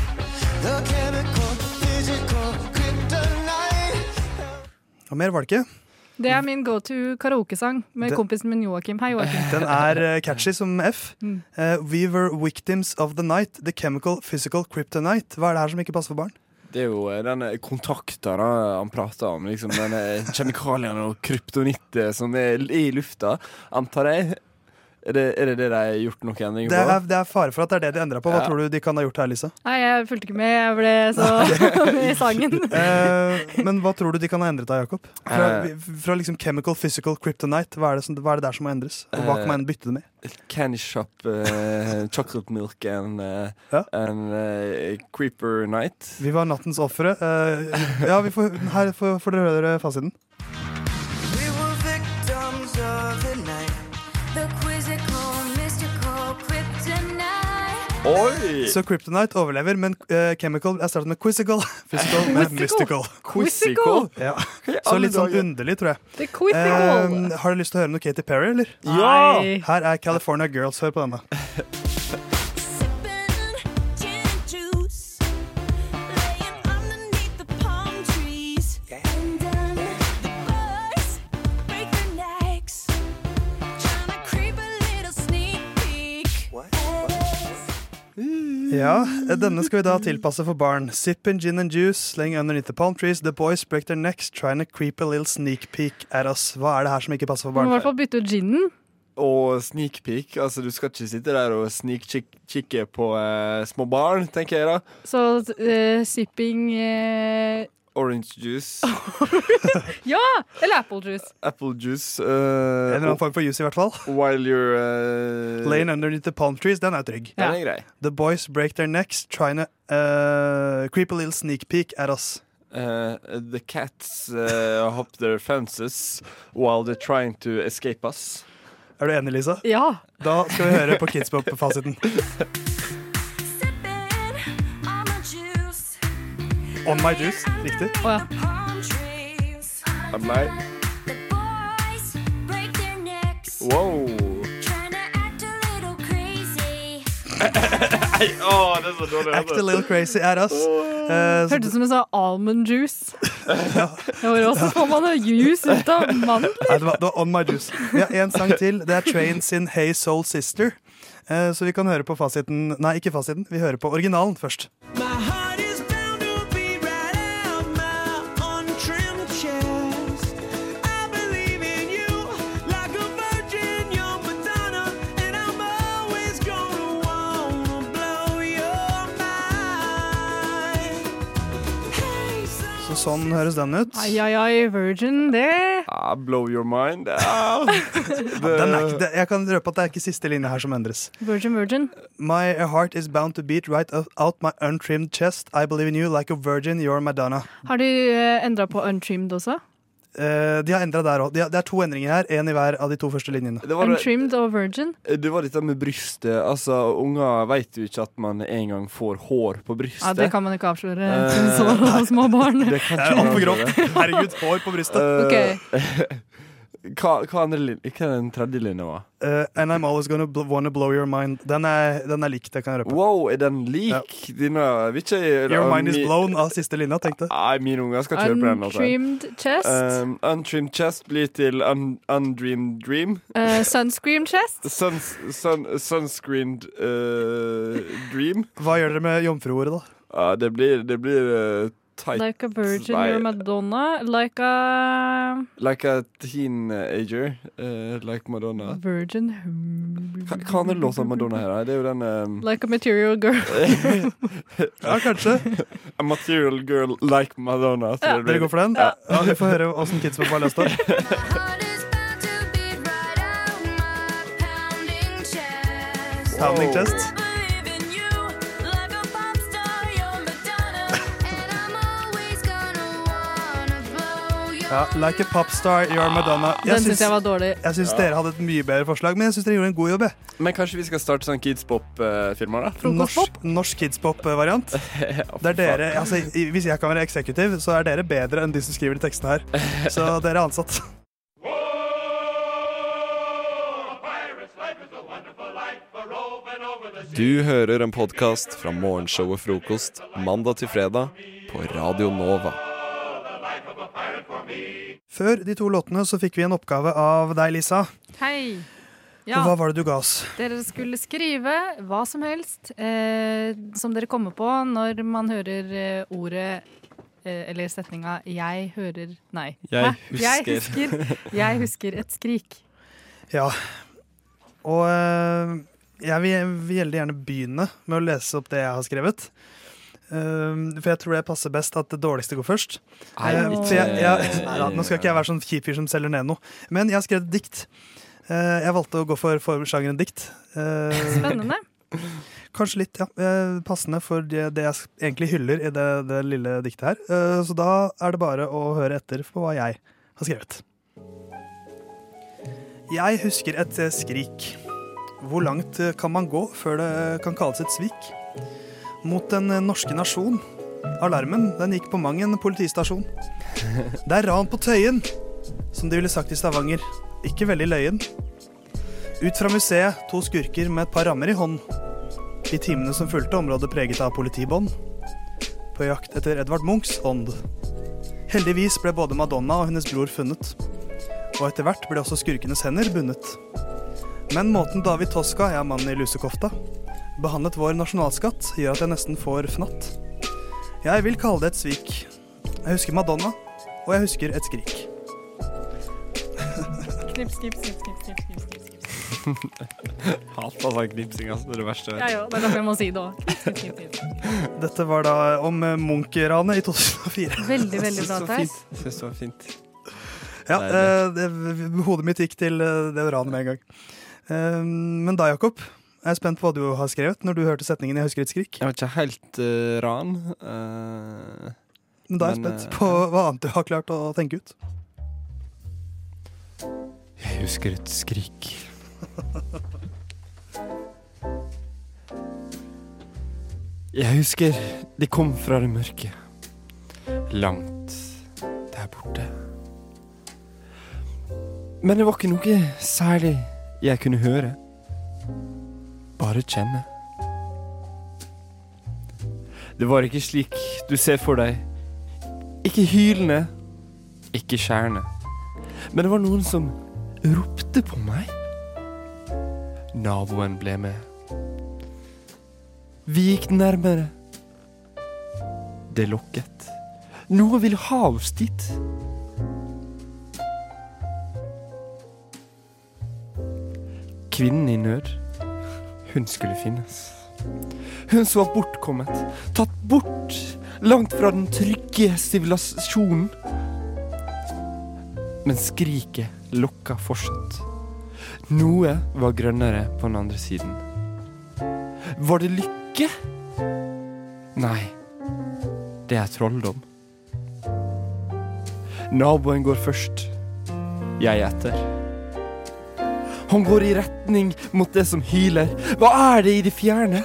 S13: The chemical, physical, kryptonite.
S4: Og mer var det ikke.
S9: Det er min go to karaokesang med
S4: Det-
S9: kompisen min Joakim. Hei, Joakim.
S4: Den er eh, catchy som F.
S9: Mm.
S4: Eh, we were victims of the night, the chemical, physical, kryptonite. Hva er det her som ikke passer for barn?
S10: Det er jo eh, denne kontakta da, eh, han prater om. Liksom, denne kjemikalien og kryptonittet som er l- i lufta, antar jeg. Er det er det, det de har gjort noen endringer
S4: Det er,
S10: på?
S4: det er fare for at det er det de endra på. Hva
S10: Ja.
S4: tror du de kan ha gjort her, Lise?
S9: Nei, jeg fulgte ikke med. Jeg ble så med i sangen.
S4: Eh, men hva tror du de kan ha endret da, Jakob? Fra,
S10: Eh.
S4: fra liksom chemical, physical, kryptonite, hva er det, som, hva er det der som må endres? Og hva kan man bytte det med?
S10: Candy shop, eh, chocolate milk and, eh, and eh, creeper night.
S4: Vi var nattens ofre. Eh, ja, vi får, her får, får dere høre fasiten.
S13: We were victims of the night.
S12: The quizzical, mystical kryptonite.
S10: Oi!
S4: Så kryptonite overlever, men eh, chemical er startet med quizzical. Physical med mystical.
S9: Quizzical? Quizzical?
S4: Ja.
S9: i
S4: Så
S9: alle
S4: litt sånn
S9: dager?
S4: underlig, tror jeg.
S9: The quizzical.
S4: Eh, har du lyst til å høre noe Katy Perry, eller?
S9: Ja! Nei.
S4: Her er California Girls. Hør på denne.
S12: Gin juice. Laying underneath the palm trees. Undone the bugs. Break their necks. Tryna creep a little sneak peek.
S4: Ja, denne skal vi da tilpasse for barn. Sipping gin and juice, slaying underneath the palm trees, the boys break their necks, trying to creep a little sneak peek at us. Hva er det her som ikke passer for
S9: Du må i hvert
S4: barn?
S9: fall bytte ut ginen.
S10: Og sneak peek. Altså, du skal ikke sitte der og snikkikke på eh, små barn, tenker jeg da.
S9: Så eh, sipping eh,
S10: Orange juice,
S9: Ja! Eller apple juice.
S10: apple juice En
S4: En eller annen form for juice, i hvert fall.
S10: While you're eh,
S4: Laying underneath the palm trees, den er trygg.
S10: Den er grei.
S4: The boys break their necks, trying to eh, creep a little sneak peek at us.
S10: Uh, the cats uh, hop their fences while they're trying to escape us.
S4: Er du enig, Lisa?
S9: Ja.
S4: Da skal vi høre på Kidspop-fasiten.
S12: On the juice.
S4: On my juice, riktig.
S12: Palm trees. The boys break their necks.
S10: Wow.
S12: Tryna act a little crazy.
S14: Nei, åh, det er så dårlig.
S4: Act oh, a little crazy at us. Eh, så-
S9: Hørtes ut som en sånn almond juice. Det var også får man noe juice ut av mandler.
S4: Nei, det var, det var On My Juice. Vi har en sang til. Det er Train sin Hey Soul Sister. Eh, Så vi kan høre på fasiten Nei, ikke fasiten. Vi hører på originalen først.
S13: My heart is bound to beat right out my untrimmed chest. I believe in you like a virgin, your Madonna, and I'm always gonna wanna blow your mind. Hey, so
S4: Så sånn høres den ut.
S9: Ai, ai, ai, virgin, det
S10: Ah, blow your mind. Ah.
S4: Den er ikke, det- jeg kan røpe at det er ikke siste linje her som endres.
S9: Virgin, virgin.
S4: My heart is bound to beat right o- out my untrimmed chest. I believe in you like a virgin, you're Madonna.
S9: Har de endra på untrimmed også?
S4: Eh, De har endra der òg. Det er to endringer her. Én i hver av de to første linjene.
S10: Det var, det,
S9: Untrimmed og virgin?
S10: det Eh, var dette med brystet. Altså, Unger vet jo ikke at man en gang får hår på brystet.
S9: Ja, det kan man ikke avsløre
S10: Eh,
S9: til så små barn.
S10: Det kan ikke man gjøre.
S4: Herregud, hår på brystet.
S9: Ok.
S10: hva, hva, andre, lin- hva er den tredje linja? var?
S4: Eh, and I'm always gonna bl wanna blow your mind. Den er, den er lik, det kan jeg røpe.
S10: Wow, er den lik? Dine, vil ikke,
S4: Your mind is
S10: mi-
S4: blown av siste linja, tenkte jeg.
S10: Nei, mine unger skal kjøre på den. altså.
S9: Untrimmed chest.
S4: Eh.
S10: Um, untrimmed chest blir til un undreamed dream.
S9: Eh, sunscreen chest.
S10: Suns sun sunscreened eh, dream.
S4: Hva gjør dere med jomfruordet, da?
S10: Ja, det blir, det blir eh, tight
S9: Like a virgin
S10: Nei,
S9: or Madonna. Like a
S10: like a teenager. eh, like Madonna.
S9: virgin
S10: Hva hva andre låter av Madonna her? da? Det er jo den um,
S9: Like a material girl.
S4: Ja, kanskje.
S10: A material girl like Madonna. tror jeg det blir.
S4: Dere går for den? Ja. vi får høre åssen Kidsbop har løst det.
S12: Pounding chest.
S4: Pounding chest.
S12: Believe in you like a pop star, you're Madonna. and I'm always gonna wanna blow your Ah.
S4: Ja, like a popstar, you're Madonna.
S9: Den syns
S4: syns-
S9: jeg var dårlig.
S4: Jeg syns dere hadde et mye bedre forslag, men jeg syns dere gjorde en god jobb. jeg.
S10: Men kanskje vi skal starte sånn kidspop-firma, da?
S4: Norsk, norsk kidspop-variant. Det er dere, altså, i- Hvis jeg kan være eksekutiv, så er dere bedre enn de som skriver de tekstene her. Så dere er ansatt.
S8: Du hører en podkast fra morgenshow og frokost mandag til fredag på Radio Nova.
S4: Før de to låtene så fikk vi en oppgave av deg, Lisa.
S9: Hei.
S4: Og hva var det du ga oss?
S9: Dere skulle skrive hva som helst eh, som dere kommer på når man hører eh, ordet eh, eller setninga 'jeg hører' Nei.
S4: Jeg
S9: Hæ? Jeg
S4: husker.
S9: husker, jeg husker et skrik.
S4: Ja. Og eh, jeg vil, vil veldig gjerne begynne med å lese opp det jeg har skrevet. Eh, for jeg tror det passer best at det dårligste går først.
S10: Nei,
S4: Eh,
S10: ikke-
S4: så jeg, jeg, nei, da, nå skal ikke jeg være sånn kjip fyr som selger ned noe, men jeg har skrevet dikt. Eh, jeg valgte å gå for, for sjangeren dikt. Eh,
S9: Spennende.
S4: Kanskje litt, ja. Eh, passende for det, det jeg s- egentlig hyller i det, det lille diktet her. Eh, så da er det bare å høre etter på hva jeg har skrevet. Jeg husker et eh, skrik. Hvor langt eh, kan man gå før det eh, kan kalles et svik? Mot den eh, norske nasjon. Alarmen den gikk på mang en politistasjon. Det er ran på Tøyen, som de ville sagt i Stavanger. Ikke veldig løyen. Ut fra museet, to skurker med et par rammer i hånd. I timene som fulgte området preget av politibånd. På jakt etter Edvard Munchs ånd. Heldigvis ble både Madonna og hennes bror funnet. Og etter hvert ble også skurkenes hender bundet. Men måten David Toska, jeg er mannen i lusekofta, behandlet vår nasjonalskatt, gjør at jeg nesten får fnatt. Jeg vil kalle det et svik. Jeg husker Madonna, og jeg husker et skrik.
S9: Knips, knips, knips, knips, knips, knips, knips. knips.
S10: Hata sånn knipsing, altså. Det er det verste jeg
S9: Ja, ja, det er derfor jeg må si det òg.
S4: Dette var da om eh, Munch-ranet i 2004.
S9: Veldig, veldig bra, Theis.
S10: Syns det var fint.
S4: Ja,
S10: Deilig.
S4: eh, det, hodet mitt gikk til eh, det ranet med en gang. Eh, men da, Jakob, jeg er spent på hva du har skrevet når du hørte setningen 'Jeg husker et skrik'.
S10: Jeg var ikke helt eh, ran. eh,
S4: Men da er jeg
S10: men,
S4: spent
S10: eh,
S4: på hva annet du har klart å tenke ut.
S10: Jeg husker et skrik. Jeg husker de kom fra det mørke. Langt der borte. Men det var ikke noe særlig jeg kunne høre. Bare kjenne. Det var ikke slik du ser for deg. Ikke hylende, ikke skjærende. Men det var noen som ropte på meg. Naboen ble med. Vi gikk nærmere. Det lokket. Noe ville ha oss dit. Kvinnen i nød. Hun skulle finnes. Hun som var bortkommet. Tatt bort. Langt fra den trygge sivilisasjonen. Men skriket lokka fortsatt. Noe var grønnere på den andre siden. Var det lykke? Nei, det er trolldom. Naboen går først, jeg etter. Han går i retning mot det som hyler. Hva er det i det fjerne?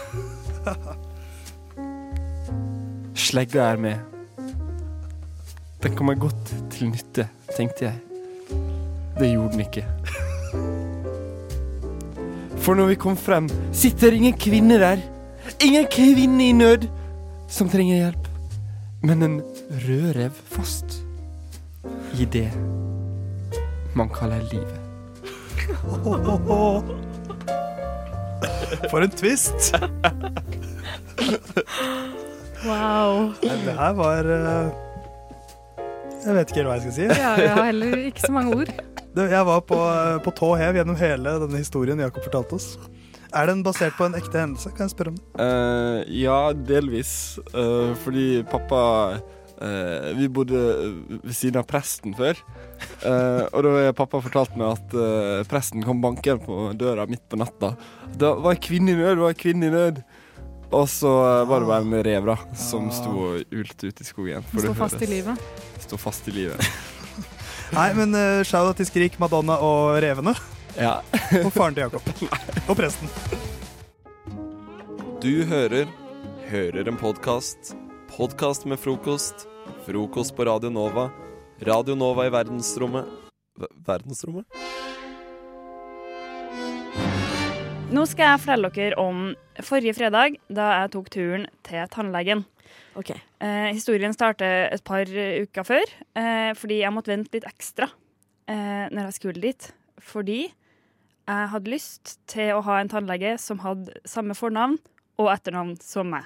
S10: Slegga er med. Den kommer godt til nytte, tenkte jeg. Det gjorde den ikke. For når vi kom frem, sitter ingen kvinne der. Ingen kvinne i nød som trenger hjelp, men en rødrev fast i det man kaller livet.
S4: For en twist!
S9: Wow.
S4: Nei, Det her var eh, Jeg vet ikke helt hva jeg skal si.
S9: Ja, jeg har heller ikke så mange ord.
S4: Det- Jeg var på, eh, på tå hev gjennom hele denne historien Jakob fortalte oss. Er den basert på en ekte hendelse? Kan jeg spørre om det?
S10: Eh, ja, delvis. Eh, fordi pappa eh, Vi bodde ved siden av presten før. Eh, og da har pappa fortalt meg at eh, presten kom bankende på døra midt på natta. Det var en kvinne i nød, det var en kvinne i nød. Og så eh, var det bare en rev da som Ah. sto og ulte ute i skogen.
S9: Stå fast i livet.
S10: Stå fast i livet.
S4: Nei, men uh, shout-out til Skrik, Madonna og Revene.
S6: Ja.
S4: og faren til Jakob. Og presten.
S8: Du hører Hører en podkast. Podkast med frokost. Frokost på Radio Nova. Radio Nova i verdensrommet Ver- Verdensrommet?
S15: Nå skal jeg fortelle dere om forrige fredag, da jeg tok turen til tannlegen. Eh, historien starter et par eh, uker før, eh, fordi jeg måtte vente litt ekstra eh, når jeg skulle dit. Fordi jeg hadde lyst til å ha en tannlege som hadde samme fornavn og etternavn som meg.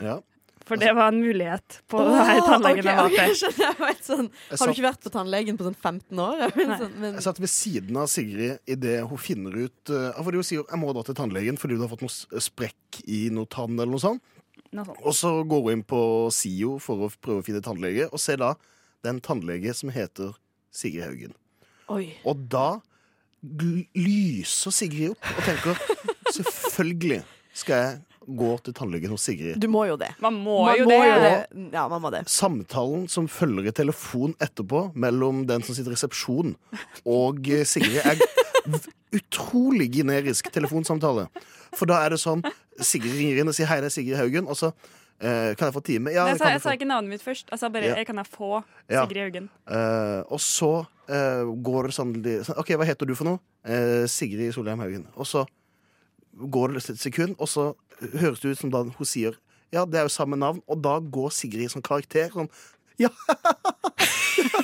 S11: Ja.
S15: For det var en mulighet på
S2: Åh,
S15: denne tannlegen
S2: ok,
S15: jeg var
S2: ok,
S15: til.
S2: jeg skjønner, jeg var helt sånn,
S11: Jeg
S2: har du
S11: satt-
S2: ikke vært på tannlegen på sånn 15 år? Jeg ble sånn, men,
S11: Jeg satt ved siden av Sigrid idet hun finner ut uh, Fordi hun sier jeg må da til tannlegen fordi du har fått noe s- sprekk i noe tann. eller noe sånt
S15: Noe sånt.
S11: Og så går hun inn på SIO for å prøve å finne tannlege, og ser da det er en tannlege som heter Sigrid Haugen.
S2: Oi.
S11: Og da gl- lyser Sigrid opp og tenker selvfølgelig skal jeg gå til tannlegen hos Sigrid.
S2: Du må jo det.
S15: Man må
S2: Man
S15: jo
S2: må
S15: det.
S2: jo det. Ja, man må det.
S11: Samtalen som følger i telefon etterpå mellom den som sitter i resepsjon og eh, Sigrid, er v- utrolig generisk telefonsamtale. For da er det sånn Sigrid ringer inn og sier 'Hei, det er Sigrid Haugen', og så eh, 'Kan jeg få time?' Ja,
S15: Nei, jeg,
S11: det
S15: sa,
S11: kan
S15: jeg
S11: du
S15: sa
S11: få.
S15: ikke navnet mitt først. Jeg sa bare
S11: Ja.
S15: jeg kan jeg få
S11: Ja.
S15: Sigrid Haugen.
S11: Eh, og så eh, går det sånn de- sånn, OK, hva heter du for noe? Eh, Sigrid Solheim Haugen. Og så går det et sekund, og så høres det ut som da hun sier Ja, det er jo samme navn. Og da går Sigrid i sånn karakter. Sånn, ja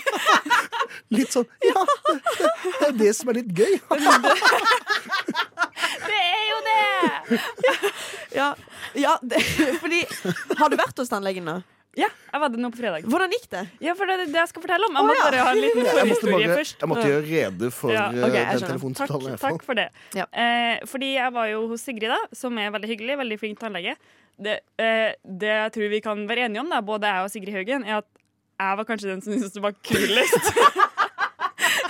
S11: Litt sånn Ja, det, det, det er det som er litt gøy.
S15: Det er jo det!
S2: Ja, ja det, fordi Har du vært hos tannlegen nå?
S15: Ja, jeg var det nå på fredag.
S2: Hvordan gikk det?
S15: Ja, for det er det jeg skal fortelle om. Jeg
S2: Å,
S15: må
S2: ja.
S15: bare ha en liten
S11: Jeg måtte,
S15: forhistorie
S11: bare,
S15: først.
S11: jeg måtte gjøre rede for
S15: Ja,
S11: eh,
S15: ok, jeg
S11: den
S15: skjønner.
S11: telefonsamtalen. i hvert fall.
S15: Takk for det. Eh, fordi jeg var jo hos Sigrid, da, som er veldig hyggelig, veldig flink tannlege. Det, eh, det jeg tror vi kan være enige om, da, både jeg og Sigrid Haugen, er at jeg var kanskje den som syntes det var kulest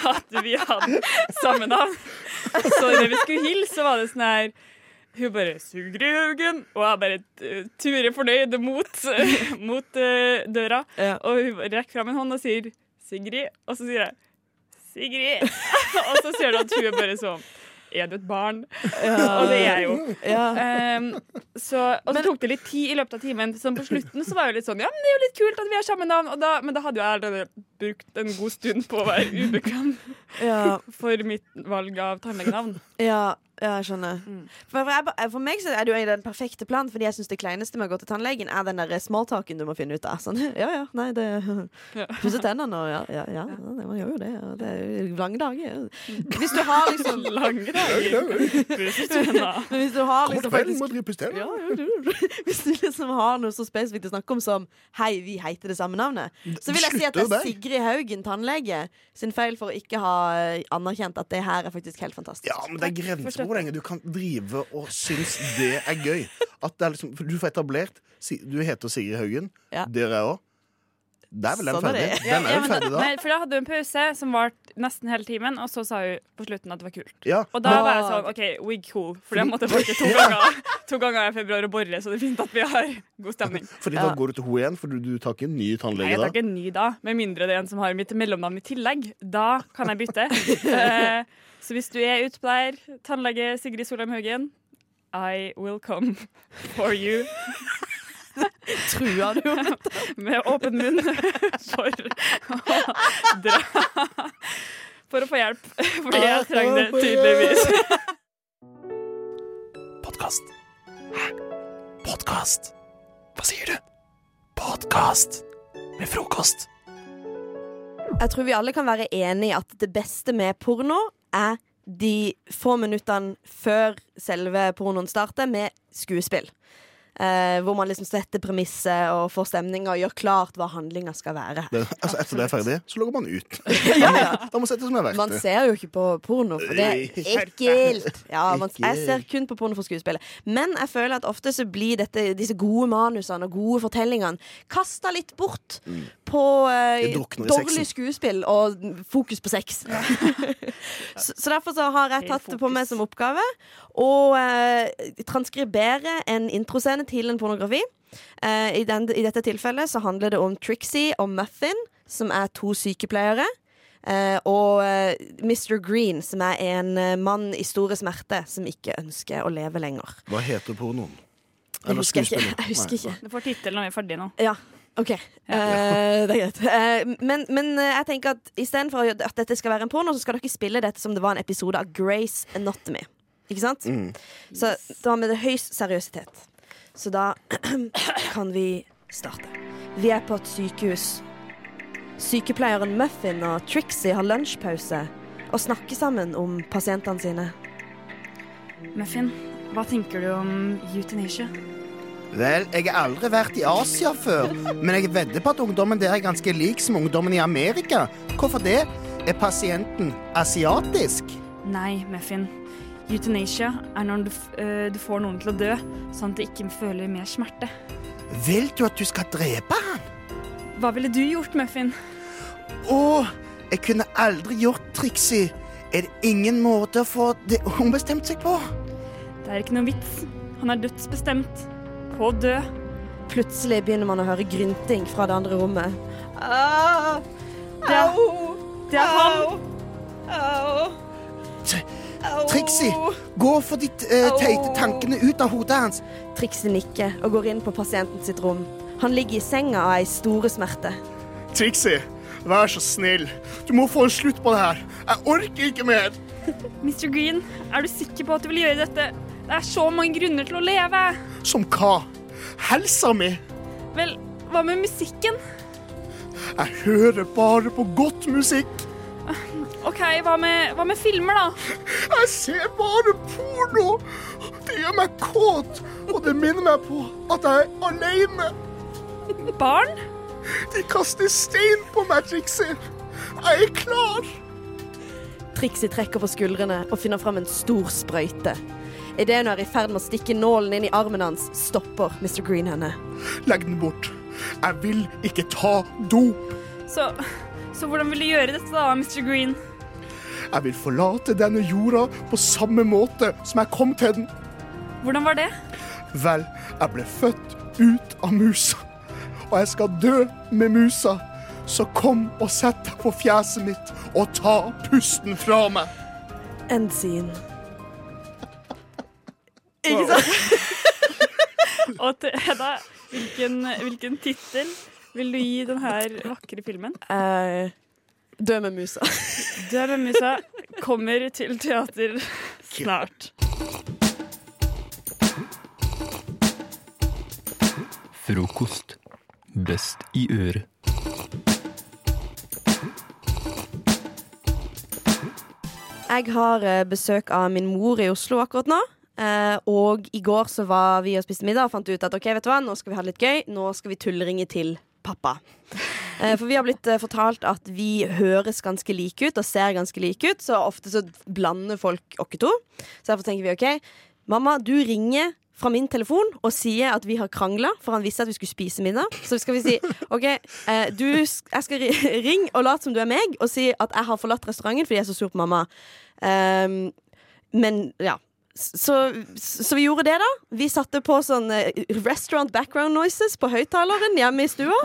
S15: at vi hadde samme navn. Så når vi skulle hilse, så var det sånn her hun bare 'Sigrid Haugen', og jeg bare eh, turer fornøyd mot, mot eh, døra. Og hun bare rekker fram en hånd og sier 'Sigrid', og så sier jeg 'Sigrid'. og så ser du at hun er bare sånn Er du et barn? og det er jeg jo.
S2: Ja.
S15: Em, så, og så tok det litt tid i løpet av timen. Sånn på slutten så var jeg jo litt sånn Ja, men det er jo litt kult at vi har samme navn. Og da, men da hadde jo jeg allerede brukt en god stund på å være ubekvem
S2: Ja.
S15: for mitt valg av tannlegenavn.
S2: Ja, ja jeg skjønner.
S15: Mm.
S2: For, for, jeg, ba- for meg så er det jo egentlig den perfekte planen, fordi jeg syns det kleineste med å gå til tannlegen, er den der smalltalken du må finne ut av. Sånn, ja, ja, nei, det Pusse tennene og ja, ja, ja, det- man gjør jo det. Og det er jo lange dager.
S15: Mm.
S2: Hvis du har liksom
S15: Lange dager. Pusse tennene.
S2: Men hvis du har
S15: Kom
S2: liksom
S15: til kvelden,
S2: faktisk-
S15: må
S11: drive pusse tennene.
S2: Ja, ja, ja. Hvis du liksom har noe så spesifikt å snakke om som Hei, vi heter det samme navnet, så vil jeg si at det
S11: slutter jo
S2: er
S11: der.
S2: Sigrid Haugen, tannlege, sin feil for å ikke ha eh, anerkjent at det her er faktisk helt fantastisk.
S11: Ja, men det er grenser for hvor lenge du kan drive og synes det er gøy. At det er liksom, for du får etablert si- Du heter Sigrid Haugen.
S2: Ja.
S11: Det gjør jeg òg. Der er vel den
S2: Sånn er
S11: ferdig.
S2: det.
S11: Den er
S15: Ja,
S11: vel
S15: men
S11: ferdig da.
S15: Nei, for da hadde hun en pause som varte nesten hele timen, og så sa hun på slutten at det var kult.
S11: Ja.
S15: Og da
S11: Men-
S15: var jeg sånn OK, wig cool. For det måtte jeg bruke to ganger To ganger i februar og borre, så det er fint at vi har god stemning.
S11: Fordi da går du til henne igjen, for du, du tar ikke en ny
S15: Nei,
S11: tannlege
S15: jeg
S11: da.
S15: tar ikke en ny da, med mindre det er en som har mitt mellomnavn i tillegg. Da kan jeg bytte. Eh, så hvis du er utpleier, tannlege Sigrid Solheim Haugen, I will come for you.
S2: Trua du med
S15: Med åpen munn for å dra For å få hjelp. Fordi jeg trenger det tydeligvis.
S12: Podkast. Hæ? Podkast? Hva sier du? Podkast med frokost.
S2: Jeg tror vi alle kan være enig i at det beste med porno er de få minuttene før selve pornoen starter, med skuespill. Eh, hvor man liksom setter premisset og får stemninga og gjør klart hva handlinga skal være.
S11: Det, altså, etter det er ferdig, så logger man ut. Da må man sette som en
S2: Man
S11: verktøy.
S2: ser jo ikke på porno, for det er ekkelt. Ja, man, jeg ser kun på porno for skuespillet. Men jeg føler at ofte så blir dette, disse gode manusene og gode fortellingene kasta litt bort på eh,
S12: Det drukner i
S2: dårlig
S12: sexen.
S2: skuespill og fokus på sex. så, så derfor så har jeg
S12: Feil
S2: tatt det på meg som oppgave å eh, transkribere en introscene til en pornografi. Eh, i, den, I dette tilfellet så handler det om Trixie og Muffin, som er to sykepleiere. Eh, og eh, Mr. Green, som er en eh, mann i store smerter, som ikke ønsker å leve lenger.
S11: Hva heter pornoen?
S2: Jeg husker ikke. Jeg husker ikke.
S15: Du får tittel når vi er ferdige nå.
S2: Ja, OK. Eh, det er greit. Eh, men, men eh, jeg tenker at istedenfor at dette skal være en porno, så skal dere spille dette som det var en episode av Grace Anatomy. Ikke sant?
S4: Mm.
S2: Så da med det høyst seriøsitet. Så da kan vi starte. Vi er på et sykehus. Sykepleieren Muffin og Trixie har lunsjpause og snakker sammen om pasientene sine.
S15: Muffin, hva tenker du om euthanasia?
S11: Vel, jeg har aldri vært i Asia før, men jeg vedder på at ungdommen der er ganske lik som ungdommen i Amerika. Hvorfor det? Er pasienten asiatisk?
S15: Nei, Muffin. Euthanasia er når du, f- eh, du får noen til å dø, sånn at du ikke føler mer smerte.
S11: Vil du at du skal drepe han?
S15: Hva ville du gjort, Muffin?
S11: Å, jeg kunne aldri gjort Trixie. Er det ingen måte å få det ombestemt seg på?
S15: Det er ikke noe vits. Han er dødsbestemt. På å dø.
S2: Plutselig begynner man å høre grynting fra det andre rommet.
S15: Ah! Det er, det er han.
S11: Trixie, gå for de eh, teite tankene ut av hodet hans.
S2: Trixie nikker og går inn på pasienten sitt rom. Han ligger i senga av ei store smerte.
S16: Trixie, vær så snill. Du må få en slutt på det her. Jeg orker ikke mer.
S15: Mr. Green, er du sikker på at du vil gjøre dette? Det er så mange grunner til å leve.
S16: Som hva? Helsa mi?
S15: Vel, hva med musikken?
S16: Jeg hører bare på godt musikk.
S15: OK, hva med, hva med filmer, da?
S16: Jeg ser bare porno. Det gjør meg kåt, og det minner meg på at jeg er alene.
S15: Barn?
S16: De kaster stein på meg, Trixie. Jeg er klar.
S2: Trixie trekker på skuldrene og finner fram en stor sprøyte. Idet hun er i ferd med å stikke nålen inn i armen hans, stopper Mr. Green henne.
S16: Legg den bort. Jeg vil ikke ta dop.
S15: Så, så hvordan vil du gjøre dette, da, Mr. Green?
S16: Jeg vil forlate denne jorda på samme måte som jeg kom til den.
S15: Hvordan var det?
S16: Vel, jeg ble født ut av musa, og jeg skal dø med musa. Så kom og sett deg på fjeset mitt og ta pusten fra meg.
S2: End scene. Ikke sant?
S15: Og til Hedda, hvilken, hvilken tittel vil du gi denne vakre filmen?
S2: Eh, dø med musa.
S15: Død med musa kommer til teater snart.
S17: Frokost. Best i øret.
S2: Jeg har eh, besøk av min mor i Oslo akkurat nå. Eh, og i går så var vi og spiste middag og fant ut at ok, vet du hva, nå skal vi ha det litt gøy. Nå skal vi tullringe til pappa. Eh, for vi har blitt eh, fortalt at vi høres ganske like ut og ser ganske like ut, så ofte så blander folk oss to. Så derfor tenker vi ok, mamma, du ringer fra min telefon og sier at vi har krangla, for han visste at vi skulle spise middag. Så skal vi si OK, eh, du, sk- jeg skal ri- ring og late som du er meg, og si at jeg har forlatt restauranten fordi jeg er så sur på mamma. Ehm, men ja. S- Så, så vi gjorde det, da. Vi satte på sånn eh, restaurant background noises på høyttaleren hjemme i stua.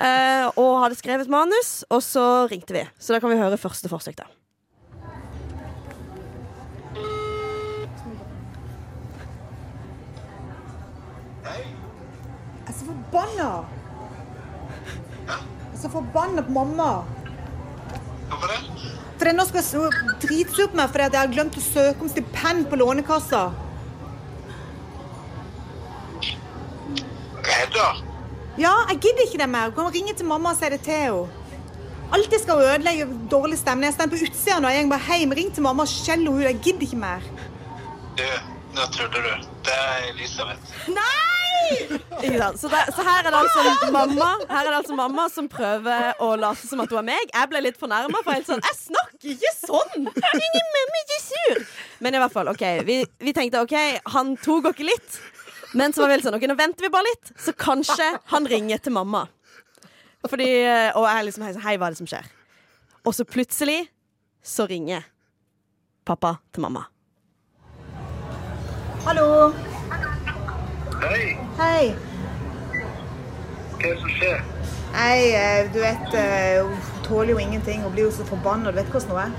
S2: eh, og hadde skrevet manus, og så ringte vi. Så da kan vi høre første forsøk, da.
S5: Jeg er så Altså, forbanna! Jeg er så forbanna på mamma. Hvorfor det? For nå skal hun er dritsur på meg fordi at jeg har glemt å søke om stipend på Lånekassa.
S18: Hedda,
S5: Ja, jeg gidder ikke det mer. Kan hun ringe til mamma og si det til henne? Alltid skal hun ødelegge dårlig stemning. Jeg står på utsida nå. Jeg bare hei, men ring til mamma og skjell henne ut. Jeg gidder ikke mer.
S18: du, nå tuller du. Det er Elisabeth.
S5: Nei!
S2: Ikke sant? Så, det, så her, er det altså mamma, her er det altså mamma som prøver å late som at hun er meg. Jeg ble litt fornærma. For jeg er helt sånn, jeg snakker ikke sånn! Ingen mamma ikke sur! Men i hvert fall, ok, vi, vi tenkte OK, han tok oss litt. Men så var vi helt sånn, ok, nå venter vi bare litt, så kanskje han ringer til mamma. Fordi, Og jeg er liksom hei, hei, hva er det som skjer? Og så plutselig så ringer pappa til mamma.
S5: Hallo.
S18: Hei,
S5: Hei.
S18: hva er det som skjer?
S5: Nei, eh, du vet eh, Hun
S19: tåler jo ingenting og blir jo så forbanna. Du vet hvordan hun er?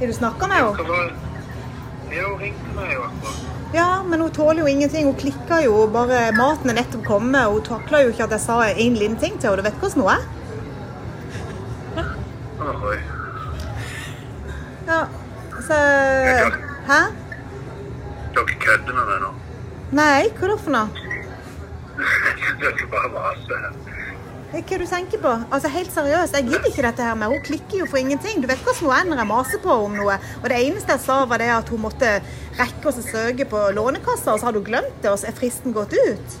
S19: Er du snakker med henne?
S18: Jo, ringte meg jo akkurat.
S19: Ja, men hun tåler jo ingenting. Hun klikker jo. og bare Maten er nettopp kommet. og Hun takler jo ikke at jeg sa en liten ting til henne. Du vet hvordan hun er?
S18: Ahoi.
S19: Ja, så Hæ?
S18: Dere kødder med meg nå.
S19: Nei, hva er det for noe?
S18: Dere bare maser.
S19: Det er Hva du tenker på? Altså, Helt seriøst, jeg gidder ikke dette her med Hun klikker jo for ingenting. Du vet hvordan hun er når jeg maser på om noe. Og det eneste jeg sa, var det at hun måtte rekke oss å søke på Lånekassa, og så hadde hun glemt det, og så er fristen gått ut.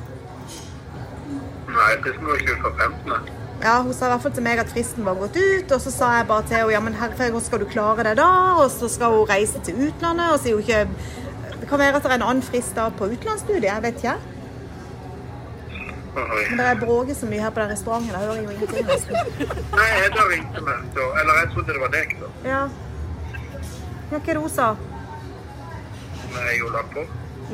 S18: Nei, det må ikke ut fra 15.
S19: Ja, Hun sa i hvert fall til meg at fristen var gått ut, og så sa jeg bare til henne ja, men herregud, hvordan skal du klare det da? Og så skal hun reise til utlandet, og så er hun ikke Det kan være at det er en annen frist da på utenlandsstudiet, jeg vet ikke. Men det er bråket så mye her på den restauranten, jeg hører jo ingenting. nesten.
S18: Nei, Hedda ringte meg, så Eller jeg trodde det var deg, da.
S19: Ja. Ja, Hva er det hun sa?
S18: Men jeg jo la på.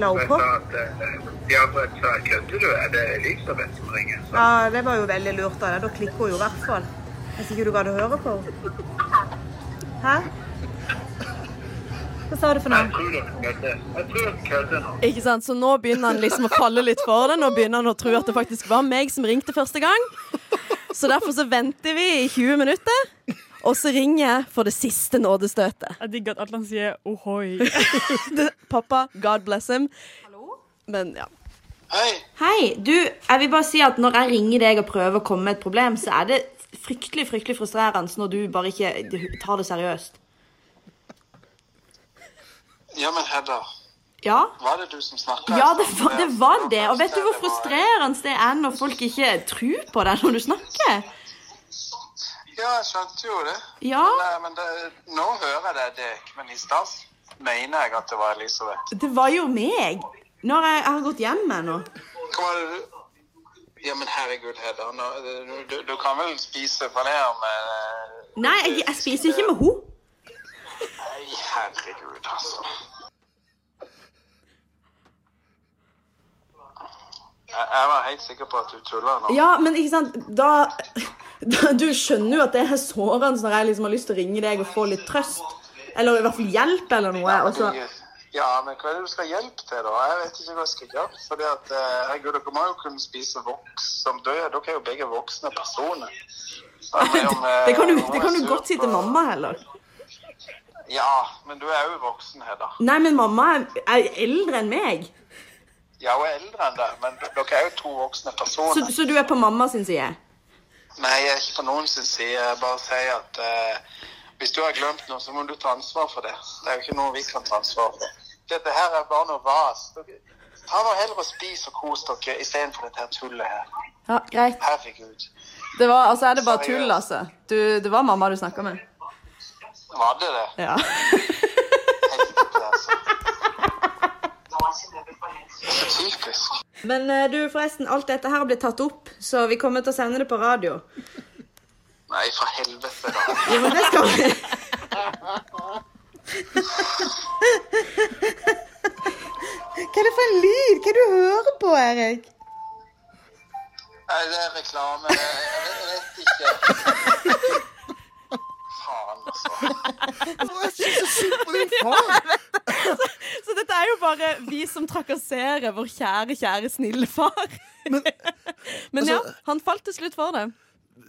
S19: La hun
S18: Jeg
S19: på?
S18: sa at eh, De andre sa kødder du? Er det Elisabeth som ringer?
S19: Ja, det var jo veldig lurt av deg. Da klikker hun jo i hvert fall. Hvis ikke du gadd å høre på henne. Hæ? Hva sa du for
S18: Jeg tror dere kødder. Jeg tror dere kødder nå.
S20: Ikke sant? Så nå begynner han liksom å falle litt for det. Nå begynner han å tro at det faktisk var meg som ringte første gang. Så derfor så venter vi i 20 minutter, og så ringer jeg for det siste nådestøtet.
S15: Jeg digger at Atlan sier ohoi.
S20: Det- Pappa, God bless him. Men ja.
S2: Hei, du, jeg vil bare si at når jeg ringer deg og prøver å komme med et problem, så er det fryktelig, fryktelig frustrerende når du bare ikke tar det seriøst.
S18: Ja, men Hedda.
S2: Ja?
S18: Var det du som snakka?
S2: Ja, det var, det var det. Og vet du hvor frustrerende det er når folk ikke tror på deg når du snakker?
S18: eh, Ja, jeg skjønte jo det.
S2: Ja.
S18: Men, eh, men det, nå hører jeg det er deg, men i stad mener jeg at det var Elisabeth.
S2: Det var jo meg. Når jeg, jeg har gått hjem ennå.
S18: Hva var det du Ja, men herregud, Hedda. Nå, du, du, du kan vel spise paner med eh,
S2: Nei, jeg, jeg spiser ikke med henne.
S18: Nei, herregud, altså. Jeg, jeg var helt sikker på at du tulla nå.
S2: Ja, men ikke sant, da, da Du skjønner jo at det er sårende når jeg liksom har lyst til å ringe deg og få litt trøst. Eller i hvert fall hjelp eller noe. Og så
S18: Ja, men hva er det du skal hjelpe til, da? Jeg vet ikke hva jeg skal gjøre. Fordi at, eh, herregud, Dere må jo kunne spise voks som dør. Dere er jo begge voksne personer. Så jeg mener om, eh,
S2: Det kan du, det kan
S18: om
S2: du
S18: jeg
S2: godt si til mamma heller.
S18: sur- Ja, men du er jo voksen, Hedda.
S2: Nei, men mamma er, er eldre enn meg.
S18: Jeg er jo eldre enn deg, men d- dere er jo to voksne personer.
S2: Så, så du er på mamma sin side.
S18: Nei, jeg er ikke på noen sin side. Jeg bare sier at eh, hvis du har glemt noe, så må du ta ansvar for det. Det er jo ikke noe vi kan ta ansvar for. Dette her er bare noe vas. Dere- Ta nå heller og spis og kos dere istedenfor dette her tullet her.
S20: ja greit.
S18: Herregud.
S20: Det var, altså, er det bare tull, altså? Du, det var mamma du snakka med.
S18: Var det altså. det?
S20: Ja.
S18: Så typisk.
S2: Men eh, du, forresten, alt dette her blir tatt opp, så vi kommer til å sende det på radio.
S18: Nei, for helvete, da.
S2: Jo, men det skal vi.
S19: Hva er det for en lyd? Hva er det du hører på, Erik?
S18: Nei, det er reklame. Jeg jeg vet ikke. Faen, altså.
S20: så, så dette er jo bare vi som trakasserer vår kjære, kjære snille far. Men, ja,
S11: altså-
S20: han falt til slutt for det.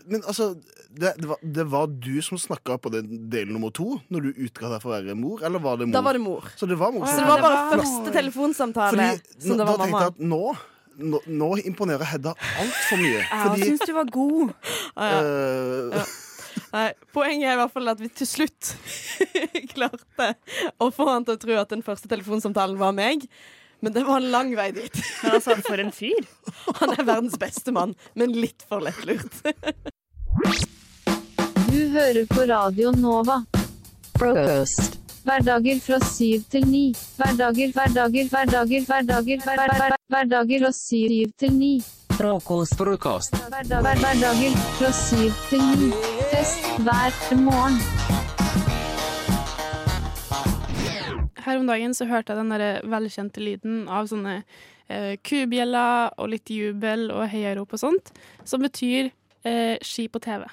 S11: Men altså, det, det, var, det var du som snakka på den del nummer to, når du utga deg for å være mor, eller var det mor?
S20: Da var det mor.
S11: Så det var mor.
S20: Så
S11: som-
S20: det var bare
S11: Fordi-
S20: første telefonsamtale som det
S11: nå-
S20: var
S11: da tenkte
S20: mamma.
S11: jeg at nå, nå, nå imponerer Hedda altfor mye.
S20: Jeg
S11: Fordi
S20: syns du var god. Ja, ja.
S11: eh,
S20: Nei, poenget er i hvert fall at vi til slutt klarte å få han til å tro at den første telefonsamtalen var meg. Men det var en lang vei dit. Men altså, for en fyr. Han er verdens beste mann, men litt for lettlurt.
S21: Du hører på Radio Nova. Frokost. Hverdager fra syv til ni. Hverdager, hverdager, hverdager, hverdager, hver- hver- hver- hverdager fra syv til ni.
S1: Frokost, frokost.
S21: Hverdag- hver- Hverdager fra syv til ni. Fest hver morgen.
S22: Her om dagen så hørte jeg den der velkjente lyden av sånne eh, kubjeller og litt jubel og heiarop og sånt, som betyr eh, ski på TV.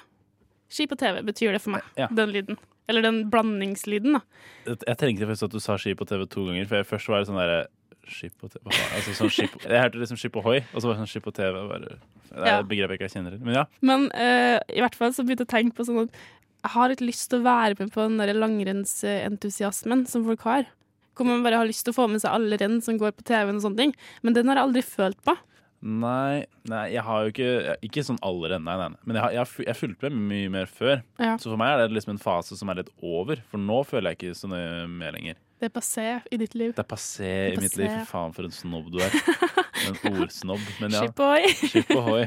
S22: Ski på TV betyr det for meg,
S1: Ja.
S22: den lyden. Eller den blandingslyden, da.
S1: Jeg tenkte først at du sa ski på TV to ganger, for jeg først var det sånn derre Skip på TV hva faen? altså, sånn skip, Jeg hørte liksom skip ohoi, og så var det sånn skip på TV. og Bare, det er
S22: Ja.
S1: et begrep jeg ikke kjenner. Men ja.
S22: Men eh, i hvert fall så begynte jeg å tenke på sånn at jeg har litt lyst til å være med på den der langrennsentusiasmen som folk har. Hvor man bare har lyst til å få med seg alle renn som går på TV-en og sånne ting. Men den har jeg aldri følt på.
S1: Nei, nei, jeg har jo ikke Ikke sånn allerede, nei, nei. nei. Men jeg, har, jeg, har, fu- jeg fulgte med mye mer før.
S22: Ja.
S1: Så for meg er det liksom en fase som er litt over. For nå føler jeg ikke så nøye med lenger.
S22: Det er passé i ditt liv.
S1: Det er passé
S22: Det
S1: i
S22: er
S1: mitt liv.
S22: passé.
S1: Fy faen, for en snobb du er. En ordsnobb. Men ja.
S22: Skip ohoi.
S1: Skip ohoi.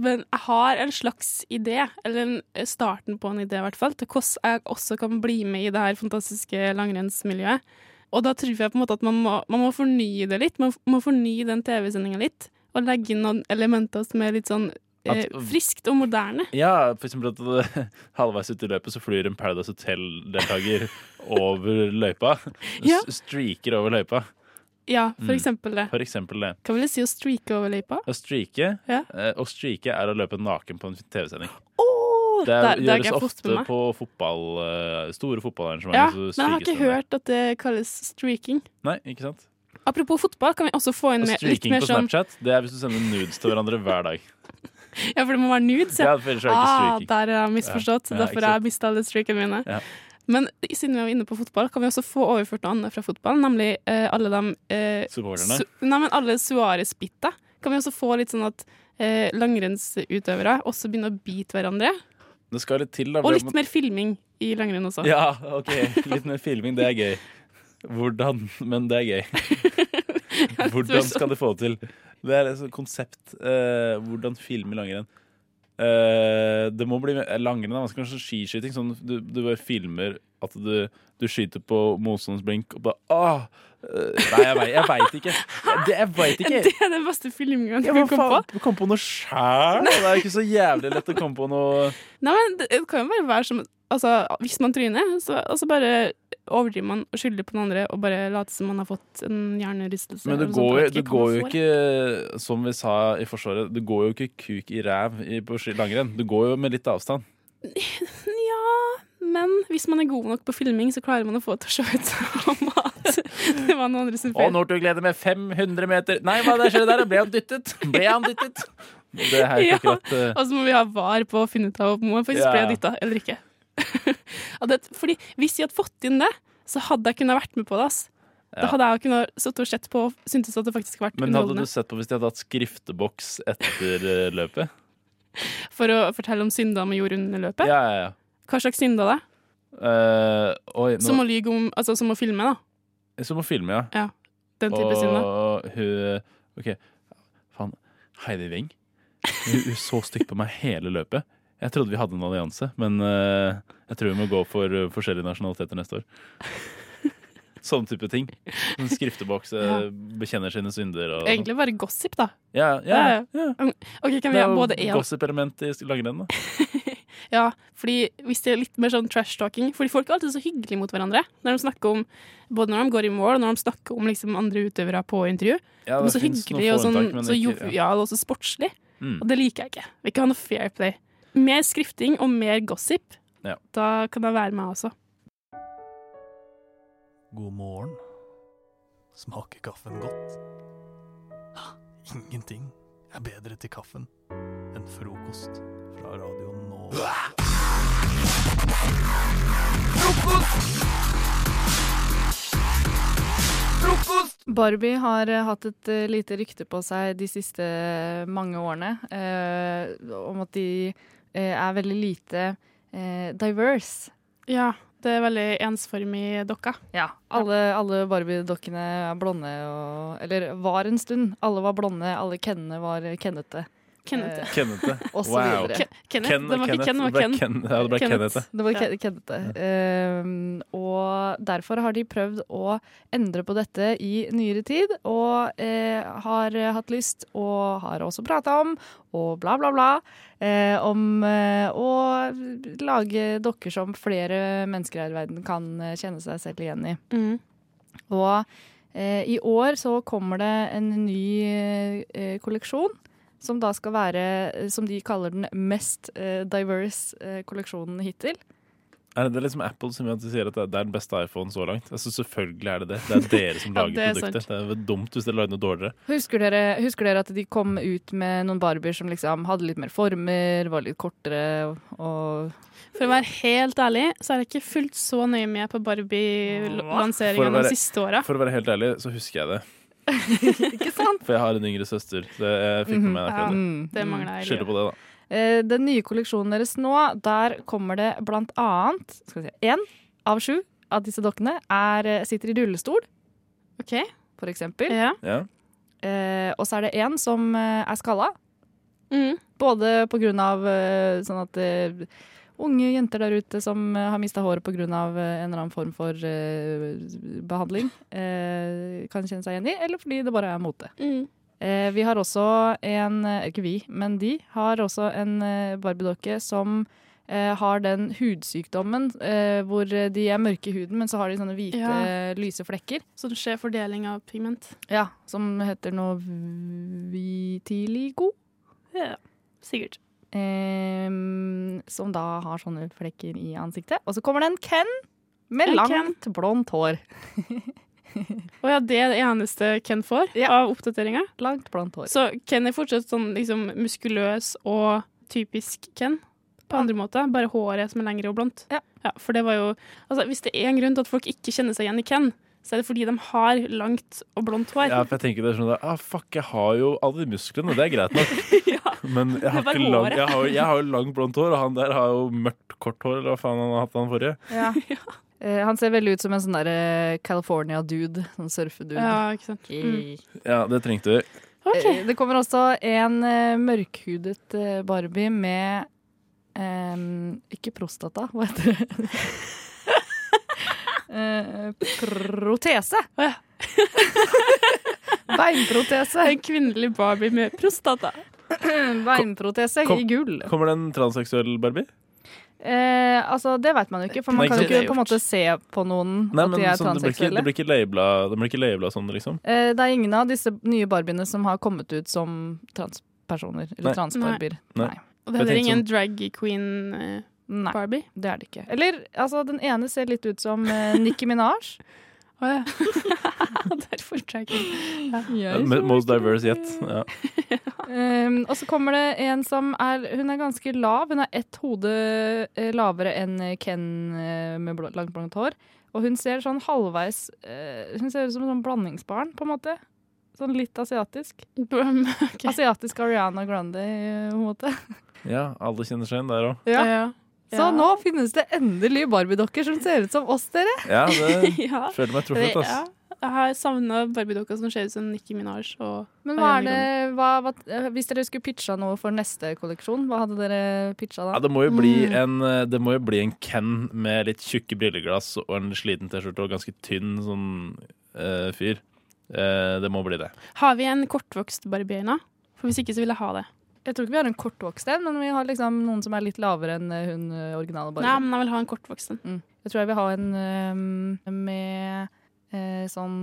S22: Men jeg har en slags idé, eller en, eh, starten på en idé i hvert fall, til hvordan jeg også kan bli med i det her fantastiske langrennsmiljøet. Og da tror jeg på en måte at man må, man må fornye det litt, man må fornye den TV-sendinga litt, og legge inn noen elementer som er litt sånn eh,
S1: At- um,
S22: friskt og moderne.
S1: Ja, for eksempel at det- halvveis ut i løpet så flyr en Paradise Hotel-deltaker over løypa.
S22: Ja.
S1: S- Streaker over løypa.
S22: Ja, for
S1: Mm.
S22: eksempel det.
S1: For eksempel det.
S22: Hva vil det si å streake over løypa?
S1: Å streake
S22: Ja.
S1: eh, Å streake er å løpe naken på en TV-sending.
S22: Åh,
S1: det
S22: der-
S1: er,
S22: der har
S1: gjøres
S22: jeg fått med
S1: ofte
S22: meg.
S1: på fotball, eh, store
S22: Ja,
S1: fotballarrangementer.
S22: men
S1: så
S22: jeg har
S1: streakes
S22: ikke
S1: det ned.
S22: hørt at det kalles streaking.
S1: Nei, ikke sant?
S22: Apropos fotball, kan vi også få inn
S1: Og
S22: mer, litt
S1: streaking
S22: mer
S1: på
S22: sånn
S1: Snapchat det er hvis du sender nudes til hverandre hver dag.
S22: Ja, for det må være nudes,
S1: Ja, for ellers er det ikke
S22: ah,
S1: streaking.
S22: der har jeg misforstått,
S1: Ja,
S22: så
S1: ja, ikke
S22: derfor har jeg mista alle streakene mine.
S1: Ja.
S22: Men siden vi var inne på fotball, kan vi også få overført noe annet fra fotball, nemlig eh, alle de eh,
S1: Supporterne?
S22: su- Nei, men alle Suarez-bitta. Kan vi også få litt sånn at eh, langrennsutøvere også begynner å bite hverandre?
S1: Det skal litt til, da.
S22: Og
S1: for
S22: litt
S1: at man-
S22: mer filming i langrenn også.
S1: Ja, OK. Litt mer filming. Det er gøy. Hvordan? Men det er gøy. Hvordan skal de få det til? Det er et sånt konsept. eh, hvordan filme langrenn? Eh, det må bli mer- langrenn. er vanskelig, Kanskje skiskyting. Sånn, du, du bare filmer at du, du skyter på motstanderens blink og bare ah! Eh, Nei, jeg, vei- jeg veit ikke. Det, jeg veit ikke.
S22: Det er den beste filminga du kan komme på.
S1: Kom på noe sjæl! Det er ikke så jævlig lett å komme på noe
S22: Nei, men det det kan jo bare være som Altså, hvis man tryner, så og så bare overdriver man og skylder på den andre og bare later som man har fått en sånn hjernerystelse.
S1: Men
S22: eller
S1: det
S22: noe sånt.
S1: går, jo,
S22: Jeg vet
S1: det
S22: hva man
S1: går jo
S22: får.
S1: ikke, som vi sa i Forsvaret, det går jo ikke kuk i ræv i- på ski- langrenn. Det går jo med litt avstand.
S22: Men hvis man er god nok på filming, så klarer man å få det til å se ut som at det var noen andre sin
S1: Og
S22: feil.
S1: når du gleder med 500 meter Nei, hva det skjedde der? Ble han dyttet? Ble han dyttet? Det her
S22: Ja,
S1: er ikke akkurat eh,
S22: Og så må vi ha var på å finne ut av om man faktisk
S1: Ja.
S22: ble dytta eller ikke. Ja, det, fordi hvis jeg hadde fått inn det, så hadde jeg kunnet vært med på det. ass.
S1: Ja.
S22: Da hadde jeg kunnet sittet og sett på og syntes at det faktisk hadde vært
S1: Men hadde du
S22: underholdende.
S1: sett på hvis de hadde hatt skrifteboks etter eh, løpet?
S22: For å fortelle om synder man gjorde under løpet.
S1: Ja, ja, ja.
S22: Hva slags synder det?
S1: Eh, oi, nå,
S22: Som å lyge om Altså som å filme, da.
S1: som å filme, ja.
S22: Ja. Den type
S1: og
S22: synder.
S1: hun OK. Faen. Heidi Weng. Hun, hun så stygt på meg hele løpet. Jeg trodde vi hadde en allianse, men eh, jeg tror vi må gå for eh, forskjellige nasjonaliteter neste år. Sånn type ting. En skrifteboks eh,
S22: Ja.
S1: bekjenner sine synder og sånn.
S22: Egentlig bare gossip, da. Um,
S1: Ja, ja.
S22: OK,
S1: Det
S22: kan vi
S1: er
S22: ha
S1: jo
S22: både E og
S1: Gossip-element i langrenn, da.
S22: Ja, fordi hvis det er litt mer sånn trash-talking Fordi folk er alltid så hyggelige mot hverandre Når de snakker om, både når de går i mål Og når de snakker om liksom andre utøvere på intervju
S1: Ja,
S22: De
S1: det
S22: er så
S1: finnes noen
S22: hyggelige og sånn,
S1: forunntak, men
S22: så
S1: ikke- ja.
S22: jovial og så sportslig
S1: Mm.
S22: Og det liker jeg ikke Vi kan ha noe fair play Mer skrifting og mer gossip
S1: Ja.
S22: Da kan jeg være med også
S7: God morgen. Smaker kaffen godt? Ingenting er bedre til kaffen enn frokost fra radioen nå.
S9: Barbie har eh, hatt et eh, lite rykte på seg de siste mange årene eh, om at de eh, er veldig lite eh, diverse.
S22: Ja, det er veldig ensformig dokka
S9: Ja, alle, alle Barbie-dokkene er blonde og Eller var en stund. Alle var blonde, alle Kennene var kennete.
S22: Kennete.
S9: Eh,
S1: Kennete.
S9: Og så
S1: Wow.
S9: videre.
S1: Ke- Kenneth. Ken- Det var ikke Kenneth. Ken, det var Det ble Ken. Ken- ja, det ble Kenneth. Kenneth.
S9: Det var
S1: Ja.
S9: Ken- Kenneth. Ehm, og derfor har de prøvd å endre på dette i nyere tid, og eh, har hatt lyst, og har også prata om, og bla, bla, bla, eh, om eh, å lage dokker som flere mennesker her i verden kan eh, kjenne seg selv igjen i.
S1: Mm.
S9: Og eh, i år så kommer det en ny eh, kolleksjon som da skal være, eh, som de kaller den mest eh, diverse eh, kolleksjonen hittil.
S1: Er det- det er liksom Apple som gjør at de sier at det det er den beste iPhone så langt. Altså, selvfølgelig er det det. Det er dere som
S9: Ja,
S1: lager
S9: det er
S1: produktet. Det
S9: sant.
S1: er vel dumt hvis dere lager noe dårligere.
S9: Husker dere, husker dere at de kom ut med noen barbier som liksom hadde litt mer former, var litt kortere og
S22: For å være helt ærlig, så er jeg ikke fullt så nøye med på
S1: For å
S22: Barbie-lanseringa
S1: være-
S22: de siste åra.
S1: For å være helt ærlig, så husker jeg det. For jeg har en yngre søster. Så jeg fikk med meg
S9: Mhm. Ja,
S1: akkurat
S9: mm,
S1: det.
S9: det mangler jeg i
S1: Skylder på det, da.
S9: Eh, Den nye kolleksjonen deres nå, der kommer det blant annet skal vi se, En av sju av disse dokkene er, eh, sitter i rullestol, for eksempel.
S1: Ja.
S9: Eh, og så er det en som eh, er skalla. Både på grunn av eh, sånn at eh, unge jenter der ute som eh, har mista håret på grunn av eh, en eller annen form for eh, behandling, eh, kan kjenne seg igjen i, eller fordi det bare er mote.
S22: Mm.
S9: Eh, vi har også en eh, Ikke vi, men de har også en eh, barbiedokke som eh, har den hudsykdommen eh, hvor de er mørke i huden, men så har de sånne hvite,
S22: Ja.
S9: lyse flekker.
S22: Så det skjer fordeling av pigment.
S9: Ja, som heter noe vitiligo.
S22: Ja, sikkert.
S9: Ehm, som da har sånne flekker i ansiktet. Og så kommer det en Ken med
S22: En
S9: langt, blondt hår.
S22: Å ja, det er det eneste Ken får av oppdateringa?
S9: Langt blondt hår.
S22: Så Ken er fortsatt sånn liksom muskuløs og typisk Ken på andre måter. Bare håret som er lengre og blondt.
S9: Ja.
S22: for det var jo Altså, hvis det er en grunn til at folk ikke kjenner seg igjen i Ken, så er det fordi de har langt og blondt hår.
S1: Ja, for jeg tenker det er sånn at, ah, Fuck, jeg har jo alle de musklene, det er greit nok. Men jeg har,
S22: Det er bare
S1: ikke lang,
S22: håret.
S1: jeg har, jeg har jo langt blondt hår, og han der har jo mørkt kort hår, eller hva faen han har hatt han forrige.
S9: Eh, han ser veldig ut som en sånn der eh, California-dude. Sånn surfedude.
S22: Ja, ikke sant. Mm.
S1: Ja, det trengte vi.
S9: Eh, Det kommer også en eh, mørkhudet eh, Barbie med ehm, Ikke prostata, hva heter det? Eh, protese. Beinprotese.
S22: En kvinnelig Barbie med prostata.
S9: Beinprotese i gull.
S1: Kommer det en transseksuell Barbie?
S9: Eh, altså, det vet man jo ikke, for man
S1: Nei,
S9: kan jo
S1: ikke sant.
S9: ikke på en måte se på noen
S1: Nei,
S9: at
S1: men
S9: de
S1: sånn, det blir
S9: er
S1: ikke,
S9: transseksuelle.
S1: det blir ikke labela- det blir ikke labela sånn, liksom.
S9: Eh, det er ingen av disse nye barbiene som har kommet ut som transpersoner, eller transbarbier.
S1: Nei.
S22: Og det
S1: Jeg
S22: er
S1: tenkte
S22: ingen
S1: sånn,
S22: drag queen eh,
S9: Nei,
S22: Barbie?
S9: Det er det ikke. Eller, altså, den ene ser litt ut som eh, Nicki Minaj.
S22: Å ja. Derfor drag queen.
S9: Ja.
S1: Men Most diverse yet. Ja.
S9: Um, og så kommer det en som er Hun er ganske lav. Hun er ett hode eh, lavere enn Ken eh, med bl langt, blondt hår. Og hun ser sånn halvveis eh, Hun ser ut som en sånn blandingsbarn, på en måte. Sånn litt asiatisk. Asiatisk Ariana Grande, eh, på en måte.
S1: ja, alle kjenner seg igjen der òg.
S9: Ja. Så nå finnes det endelig Barbie-dokker som ser ut som oss, dere!
S1: Ja, det føler meg truffet, ass.
S22: Ja. Jeg har savna Barbie-dokka som ser ut som Nicki Minaj. Og
S9: Men hva er det, hva, hva, eh, hvis dere skulle pitcha noe for neste kolleksjon, hva hadde dere pitcha eh, da?
S1: Ja, det må jo bli
S9: Mm.
S1: en, eh, det må jo bli en Ken med litt tjukke brilleglass og en sliten T-skjorte og ganske tynn sånn eh, fyr. Eh, det må bli det.
S22: Har vi en kortvokst Barbie nå? For hvis ikke, så vil jeg ha det.
S9: Jeg tror ikke vi har en kortvokst en, men vi har liksom noen som er litt lavere enn eh, hun eh, originale. Barbie.
S22: Nei, men jeg vil ha en kortvokst en.
S9: Mm. Jeg tror jeg vil ha en eh, med eh, sånn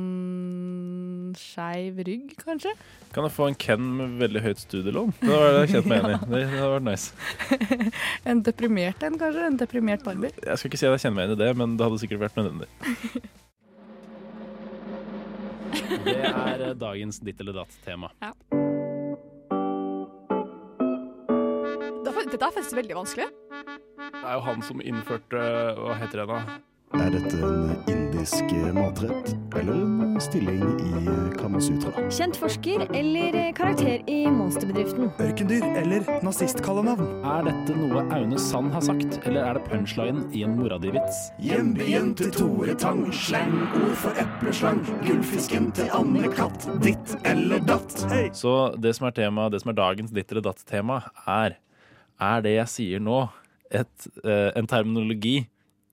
S9: skeiv rygg, kanskje.
S1: Kan jeg få en Ken med veldig høyt studielån? Det var det jeg kjente meg enig i. Det, det hadde vært nice.
S9: En deprimert en, kanskje. En deprimert Barbie.
S1: Jeg skal ikke si at jeg kjenner meg igjen i det, men det hadde sikkert vært nødvendig. Det er eh, dagens ditt eller datt-tema.
S23: Dette er faktisk veldig vanskelig.
S1: Det er jo han som innførte eh, Hva heter det da?
S3: Er dette en indisk eh, matrett eller en stilling i eh, Kamasutra?
S10: Kjent forsker eller karakter i monsterbedriften?
S1: Ørkendyr eller nazistkallenavn? Er dette noe Aune Sand har sagt, eller er det punchline i en mora di-vits?
S3: Hjembyen til Tore Tang, slangord for epleslang, gullfisken til Anne-Katt, ditt eller datt.
S1: Så det som er tema, det som er dagens ditt eller datt-tema, er Er det jeg sier nå, et, eh, en terminologi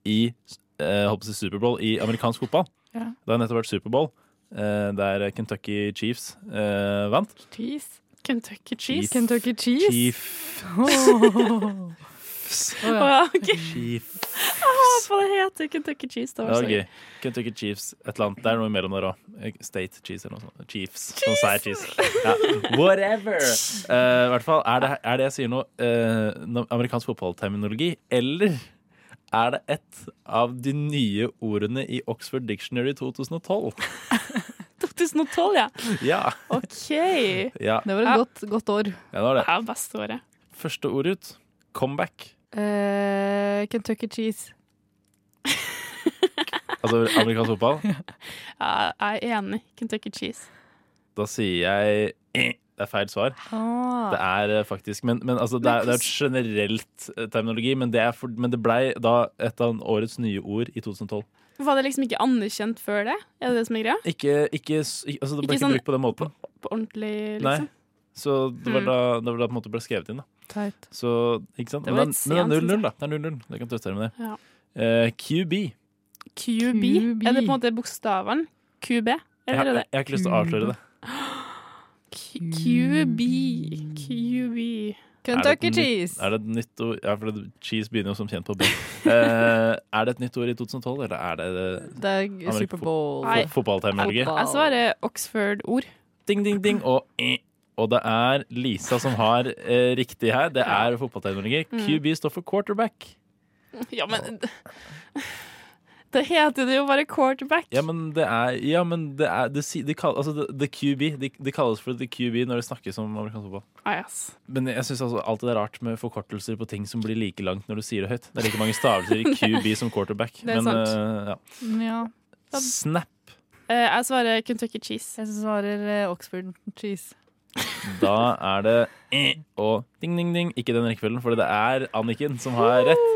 S1: i eh, håper jeg å si Superbowl i amerikansk fotball?
S9: Ja.
S1: Det har nettopp vært Superbowl, eh, der Kentucky Chiefs eh, vant.
S9: Cheese.
S22: Kentucky
S1: Chief.
S9: Kentucky cheese.
S1: Chief.
S8: Chiefs.
S22: Å ja, ok.
S1: Chief.
S22: Jeg håper det heter Kentucky Cheese.
S1: Det
S22: Det var sånn
S1: var
S22: så
S1: gøy.
S22: gøy.
S1: Kentucky Chiefs, et eller annet. Det er noe imellom der òg. State cheese eller noe sånt. Chiefs. Sånn sær cheese. Ja. Whatever. Eh, I hvert fall, er det, er det jeg sier nå, eh, no- amerikansk fotballterminologi, eller er det et av de nye ordene i Oxford Dictionary 2012?
S22: 2012, ja.
S1: Ja.
S22: OK.
S1: Ja.
S9: Det var et godt, godt år.
S1: Ja, det var det.
S22: Ja, beste året.
S1: Første ord ut comeback.
S9: Eh, Kentucky Cheese.
S1: Altså amerikansk fotball.
S22: Jeg jeg er enig. Kentucky Cheese.
S1: Da sier jeg eh, det er feil svar. Det er eh, faktisk Men, men altså, det, er, det er et generelt eh, terminologi, men det, er for, men det blei da et av årets nye ord i 2012.
S22: Var det liksom ikke anerkjent før det? Er det det som er greia?
S1: Ikke, ikke, s- ikke, altså, det ble
S22: Ikke
S1: ikke,
S22: sånn-
S1: brukt på den måten.
S22: På ordentlig,
S1: Nei.
S22: liksom?
S1: Så det var
S22: Mm.
S1: da det, var da på en måte ble skrevet inn, da.
S22: Teit.
S1: Så, ikke sant?
S22: Det
S1: Men
S22: var
S1: det,
S22: litt
S1: men det er
S22: sent,
S1: 0-0, da. Det er 0-0. Det kan trøste dere med det.
S22: Ja.
S1: Eh, QB.
S22: QB? Er det på en måte bokstavene? QB?
S1: Jeg,
S22: Eller
S1: jeg,
S22: er det
S1: jeg har ikke lyst til å avsløre det.
S22: QB. QB.
S1: Er det et nytt- Er det et nytt ord? Ja, for det, cheese begynner jo som kjent på B. Eh, er det et nytt ord i 2012, eller er det
S9: Det er Superbowl.
S1: Fo fo- Fotballterminologi.
S22: Jeg svarer Oxford-ord.
S1: Ding, ding, ding og eh. Og det er Lisa som har eh, riktig her. Det er fotballterminologi.
S22: Mm.
S1: QB står for quarterback.
S22: Ja, men Da heter det jo bare quarterback.
S1: Ja, men det er Ja, men det er det, si- de kall, Altså, the, the QB. De, de kalles for the QB når det snakkes om amerikansk fotball.
S22: Ah, yes.
S1: Men jeg syns altså alltid det er rart med forkortelser på ting som blir like langt når du sier det høyt. Det er like mange stavelser i QB som quarterback.
S22: Det er
S1: men
S22: sant.
S1: eh, ja.
S9: Ja.
S1: Snap.
S22: Eh, jeg svarer Kentucky Cheese.
S9: Jeg svarer eh, Oxford Cheese.
S1: Da er det eh, og ding, ding, ding. Ikke den rekkefølgen, for det er Anniken som har rett.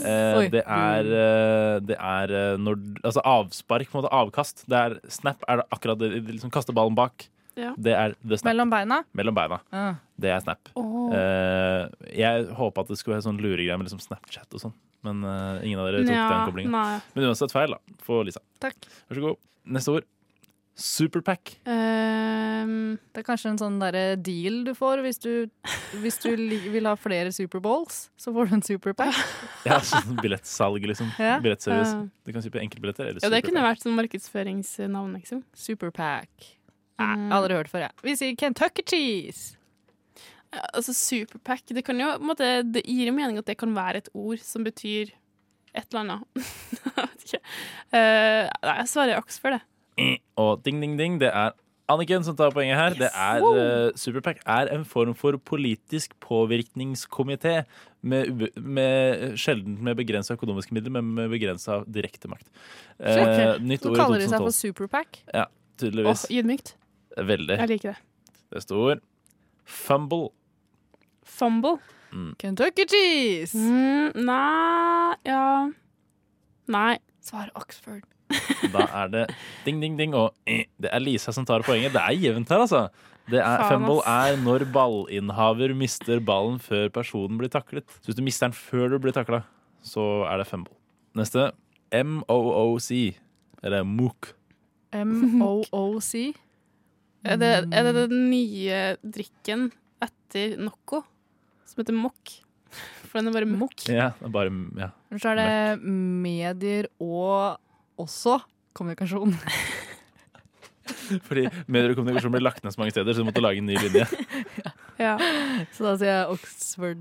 S1: Eh,
S9: Oi.
S1: det er, eh, det er eh, når, altså avspark, på en måte avkast. Det er snap er det akkurat det de liksom kaster ballen bak.
S9: Ja.
S1: Det er the snap.
S9: Mellom beina?
S1: Mellom beina.
S9: Ja.
S1: Det er snap.
S22: Mm.
S9: Åh.
S1: Eh, jeg håpa at det skulle være sånn luregreier med liksom Snapchat og sånn, men eh, ingen av dere tok
S22: Ja,
S1: den koblingen.
S22: nei.
S1: Men uansett feil, da, for Lisa.
S9: Takk.
S1: Vær så god. Neste ord. Superpack.
S22: ehm,
S9: det er kanskje en sånn derre deal du får hvis du, hvis du li vil ha flere Superbowls. Så får du en superpack.
S1: Ja, sånn billettsalg, liksom.
S9: Ja.
S1: Billettservice.
S9: Ja.
S1: Du kan kjøpe enkeltbilletter eller
S22: Ja, det kunne
S1: superpack.
S22: vært sånn markedsføringsnavn, liksom. Mm.
S9: Superpack. Nei, aldri hørt før, jeg. Vi sier Kentucky Cheese.
S22: Ja, Altså superpack Det, kan jo, på en måte, det gir jo mening at det kan være et ord som betyr et eller annet. jeg vet ikke. Eh, nei, jeg svarer Oxford, jeg.
S1: Og ding, ding, ding, det er Anniken som tar poenget her. Det er
S22: Wow.
S1: eh, Superpack er en form for politisk påvirkningskomité med, ube- med sjelden med begrensa økonomiske midler, men med begrensa direkte makt. Eh, nytt
S9: Nå
S1: ord i
S9: kaller de seg
S1: 2012.
S9: for Superpack.
S1: Ja, tydeligvis.
S22: Ydmykt.
S1: Veldig.
S22: Jeg liker det.
S1: Neste ord. Fumble.
S22: Fumble.
S1: Mm.
S9: Kentucky Cheese!
S22: Mm, nei Ja. Nei. Svar Oxford.
S1: Da er det ding, ding, ding, og eh, det er Lisa som tar poenget. Det er jevnt her, altså. Det er,
S22: Faen,
S1: fumble
S22: ass.
S1: er når ballinnhaver mister ballen før personen blir taklet. Så hvis du mister den før du blir takla, så er det fumble. Neste. MOOC. Eller MOOC.
S9: MOOC.
S22: Er det, er det den nye drikken etter Nocco, som heter Mokk? For den er bare Mokk.
S1: Ja, det er bare ja.
S9: Eller så er det medier og også kommunikasjon.
S1: Fordi medier og kommunikasjon blir lagt ned så mange steder, så du måtte lage en ny linje.
S9: Så da sier jeg Oxford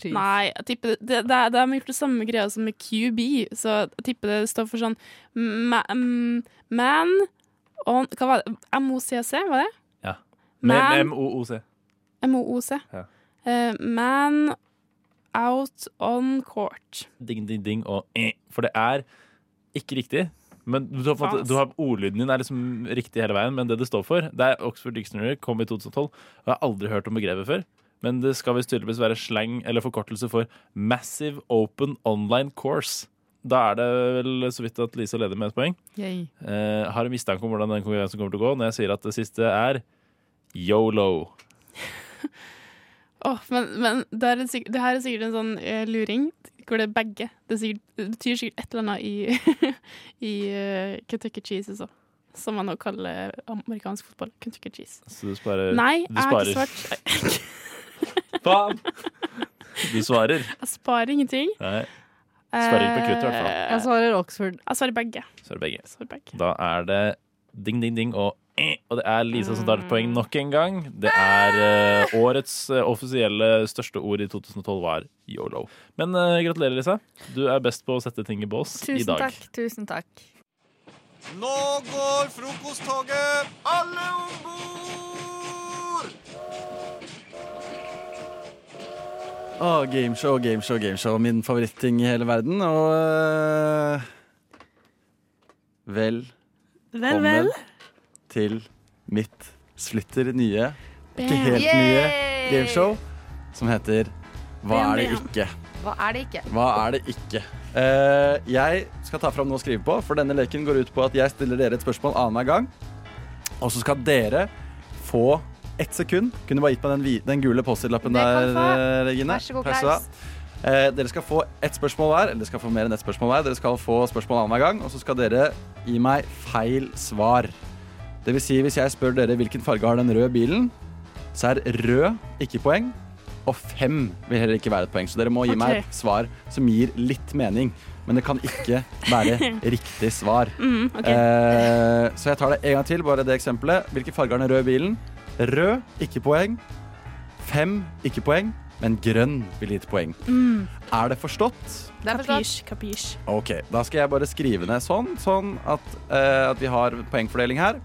S9: Cheese.
S22: Nei, jeg tipper det, det, det er, de har gjort det samme greia som med QB, så jeg tipper det står for sånn ma, mm, Man on Hva var det? MOCC, var det?
S1: Ja.
S22: Men-
S1: Med MOOC.
S22: MOOC.
S1: Ja.
S22: Eh, man out on court.
S1: ding, ding, ding og eh. For det er ikke riktig. Men du har, på en
S22: Faen,
S1: måte,
S22: ass.
S1: du har Ordlyden din er liksom riktig hele veien, men det det står for Det er Oxford Dictionary, kom i 2012, og jeg har aldri hørt om begrepet før. Men det skal visst tydeligvis være slang eller forkortelse for Massive Open Online Course. Da er det vel så vidt at Lisa leder med et poeng.
S9: Yay.
S1: Eh, har en mistanke om hvordan den konkurransen kommer til å gå når jeg sier at det siste er yolo.
S22: Åh, men, men det, er sikk- det her er sikkert en sånn eh, luring hvor det er begge. Det, er sikkert, det betyr sikkert et eller annet i, i eh, Kentucky Cheese også, som man nå kaller amerikansk fotball. Kentucky Cheese.
S1: Så du sparer
S22: Nei,
S1: du
S22: jeg har ikke
S1: sparer.
S22: svart.
S1: Faen! Du svarer.
S22: Jeg sparer ingenting.
S1: Nei. Svarer ikke på krutt, i hvert fall.
S22: Jeg svarer Oxford. Jeg svarer begge.
S1: Så er det begge.
S22: Svarer begge.
S1: Da er det ding, ding, ding og eh, og det er Lisa som tar et poeng nok en gang. Det er eh, årets eh, offisielle største ord i 2012 var yolo. Men eh, gratulerer, Lisa. Du er best på å sette ting i bås i
S4: Tusen
S1: dag.
S4: takk. Tusen takk.
S12: Nå går frokosttoget! Alle om bord!
S6: Å, gameshow, gameshow, gameshow. Min favoritting i hele verden. Og eh, vel
S4: Vel, vel.
S6: til mitt splitter nye, ikke
S4: Bam.
S6: helt nye
S4: Yay!
S6: gameshow som heter Hva
S4: Bam,
S6: er det
S4: bam.
S6: ikke?
S4: Hva er det ikke?
S6: Hva er det ikke? Eh, jeg skal ta fram noe å skrive på, for denne leken går ut på at jeg stiller dere et spørsmål annenhver gang. Og så skal dere få ett sekund. Kunne du bare gitt meg den, vi- den gule Post-It-lappen
S4: Det kan
S6: der,
S4: du få.
S6: eh, Regine.
S4: Vær så god,
S6: Press
S4: Klaus.
S6: da. Eh, dere skal få ett spørsmål hver. Eller dere skal få mer enn ett spørsmål hver. Dere skal få spørsmål annenhver gang, og så skal dere gi meg feil svar. Det vil si, hvis jeg spør dere hvilken farge har den røde bilen, så er rød ikke poeng. Og fem vil heller ikke være et poeng, så dere må gi
S4: Ok.
S6: meg et svar som gir litt mening. Men det kan ikke være riktig svar.
S4: Mm, ok.
S6: eh, så jeg tar det en gang til, bare det eksempelet. Hvilken farge har den røde bilen? Rød, ikke poeng. Fem, ikke poeng. Men grønn vil gi et poeng.
S22: Mm.
S6: Er det forstått?
S22: Det er forstått. Kapisj.
S6: Ok, da skal jeg bare skrive ned sånn, sånn at, eh, at vi har poengfordeling her.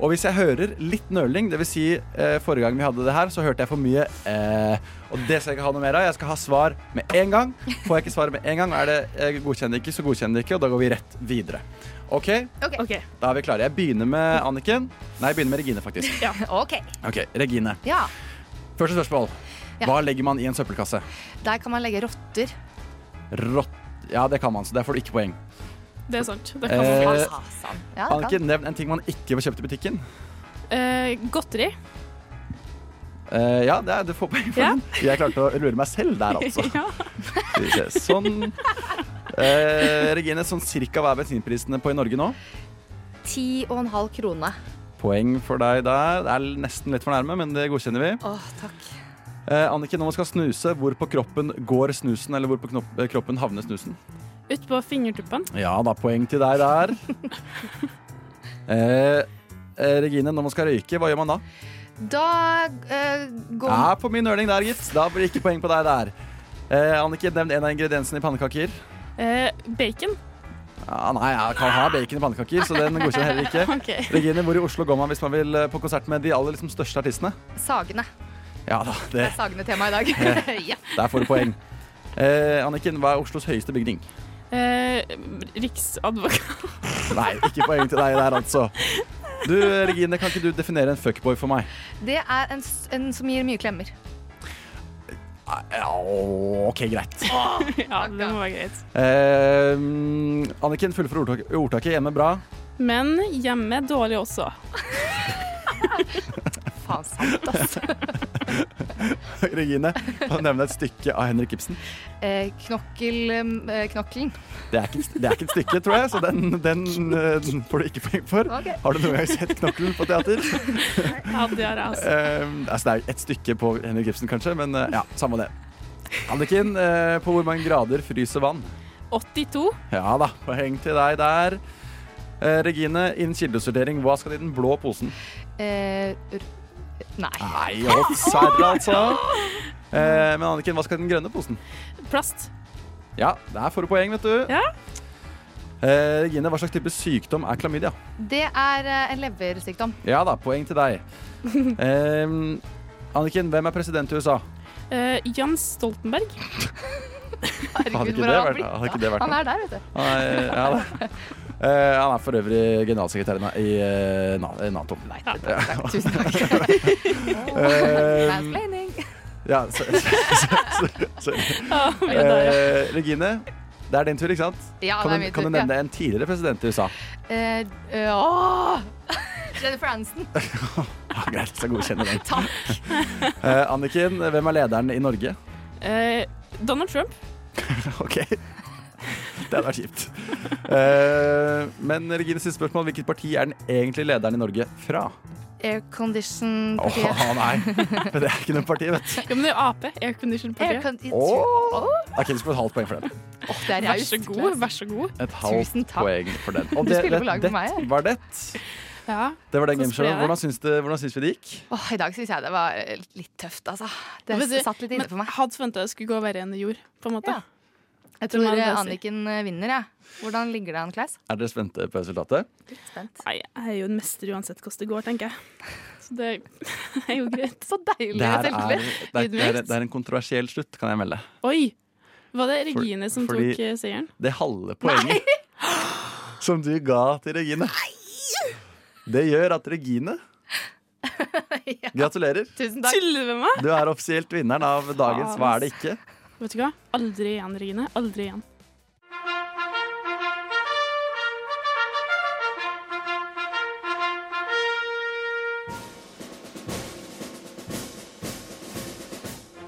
S6: Og hvis jeg hører litt nøling, dvs. Si, eh, forrige gang vi hadde det her, så hørte jeg for mye eh, Og det skal jeg ikke ha noe mer av. Jeg skal ha svar med en gang. Får jeg ikke svar med en gang, er det eh, godkjenner ikke, så godkjenner ikke, og da går vi rett videre. OK,
S22: Ok.
S6: da er vi klare. Jeg begynner med Anniken. Nei, jeg begynner med Regine, faktisk.
S4: Ja. OK.
S6: OK, Regine.
S4: Ja.
S6: Første spørsmål.
S4: Ja.
S6: Hva legger man i en søppelkasse?
S4: Der kan man legge rotter.
S6: Rått... Ja, det kan man, så der får du ikke poeng.
S22: Det er sant. Det kan
S4: Altså,
S22: man
S6: Eh,
S22: faktisk.
S4: Ja, det
S6: Anniken, nevn en ting man ikke får kjøpt i butikken.
S22: Eh, godteri.
S6: Eh, ja, det er, du får poeng for
S22: Ja.
S6: den. Jeg klarte å lure meg selv der, altså.
S22: Ja.
S6: Skal vi se. Sånn. Eh, Regine, sånn cirka hva er bensinprisene på i Norge nå?
S4: Ti og en halv krone.
S6: Poeng for deg der. Det er nesten litt for nærme, men det godkjenner vi.
S4: Åh, takk.
S6: Eh, Anniken, når man skal snuse, hvor på kroppen går snusen, eller hvor på knopp, eh, kroppen havner snusen?
S22: Utpå fingertuppen.
S6: Ja da, poeng til deg der. Eh, eh, Regine, når man skal røyke, hva gjør man da?
S4: Da eh, går
S6: Ja, på min nøling der, gitt. Da blir det ikke poeng på deg der. Eh, Anniken, nevn en av ingrediensene i pannekaker.
S22: Eh, bacon.
S6: Ja, nei, jeg kan ha bacon i pannekaker, så den godkjenner jeg heller ikke.
S4: Ok.
S6: Regine, hvor i Oslo går man hvis man vil eh, på konsert med de aller liksom, største artistene?
S4: Sagene.
S6: Ja da,
S4: Det
S6: det,
S4: er sagene tema i dag. ja.
S6: der får du poeng. Eh, Anniken, hva er Oslos høyeste bygning?
S22: Eh, Riksadvokat.
S6: Nei, ikke poeng til deg der, altså. Du, Regine, kan ikke du definere en fuckboy for meg?
S4: Det er en, s- en som gir mye klemmer.
S6: Ja, OK, greit.
S22: ja, det må være greit.
S6: Eh, Anniken, fullfør ordtak ordtaket. Hjemme bra.
S22: Men hjemme dårlig også.
S4: Faen sant, altså.
S6: Regine, kan du nevne et stykke av Henrik Ibsen?
S4: Eh, knokkel, eh, knokkelen.
S6: Det er ikke, det er ikke et stykke, tror jeg, så den, den, eh, den får du ikke poeng for.
S4: Ok.
S6: Har du noen gang sett Knokkelen på teater?
S22: Ja, det er det, altså.
S6: Eh, altså, det er et stykke på Henrik Ibsen, kanskje, men eh, ja, samme det. Anniken, eh, på hvor mange grader fryser vann?
S22: 82.
S6: Ja da, poeng til deg der. Eh, Regine, innen kildesortering, hva skal det i den blå posen?
S4: Eh, r nei.
S6: Nei, å, serre, altså. Eh, men Anniken, hva skal i den grønne posen?
S22: Plast.
S6: Ja, der får du poeng, vet du.
S22: Ja.
S6: Eh, Regine, hva slags type sykdom er klamydia?
S4: Det er eh, en leversykdom.
S6: Ja da, poeng til deg. Eh, Anniken, hvem er president i USA?
S22: Eh, Jens Stoltenberg.
S6: Hadde ikke
S4: hvor
S6: det
S4: har han
S6: vært,
S4: blitt
S6: hadde ikke det vært
S4: Han
S6: noe?
S4: er der, vet du.
S6: Han er, ja, da. Eh, han er for øvrig generalsekretær i Na- i eh, Na- i Nato. Nei,
S4: Tusen takk. Mansplaining.
S6: ja, så, så, så, så,
S4: Ja, vi er der, ja.
S6: Eh, Regine, det er din tur, ikke sant?
S4: Ja,
S6: kan
S4: det er
S6: du,
S4: min
S6: kan
S4: tur,
S6: du
S4: ja.
S6: nevne en tidligere president i USA?
S4: Eh, eh, åh! Jennifer Aniston.
S6: Ja, greit, så godkjenner den. Eh, Anniken, hvem er lederen i Norge?
S22: Eh, Donald Trump.
S6: OK. Det hadde vært kjipt. Eh, men Regines siste spørsmål, hvilket parti er den egentlige lederen i Norge fra?
S21: Aircondition-partiet.
S6: Åh, nei. Men det er ikke noe parti, vet du.
S22: Ja, men det er jo Ap. Aircondition-partiet.
S6: Åh! Ok, du skal få et halvt poeng for den.
S22: Vær så god.
S21: altså.
S22: Vær så god.
S6: Et halvt poeng for den. Og
S22: Du
S6: det,
S22: spiller på
S6: det,
S22: lag med
S6: det
S22: meg,
S6: var det.
S22: Ja.
S6: Det var den
S22: Så spør jeg
S6: gameshowen.
S22: deg.
S6: Hvordan syns det- hvordan syns vi det gikk?
S21: Åh, I dag syns jeg det var
S4: eh,
S21: litt tøft, altså. Det
S22: Vet du,
S21: satt litt inne
S22: men
S21: for meg.
S22: Hadde forventa det skulle gå verre enn det gjorde. På en måte.
S21: Jeg
S22: Det må
S21: tror eh,
S22: jeg bare si.
S21: Anniken vinner, jeg. Hvordan ligger det an, Klaus?
S6: Er dere spente på resultatet?
S22: Nei, jeg er jo en mester uansett hvordan det går, tenker jeg. Så det er jo greit. Så
S6: Det,
S22: deilig
S6: her er, det, er, det, er, det er en kontroversiell slutt, kan jeg melde.
S22: Oi! Var det Regine som
S6: fordi-
S22: tok eh, seieren?
S6: Det halve poenget som du ga til Regine, det gjør at Regine Gratulerer.
S22: Tusen takk. Tuller du med meg?
S6: Du er offisielt vinneren av dagens Hva er det ikke?
S22: Vet du hva? Aldri igjen, Regine. Aldri igjen.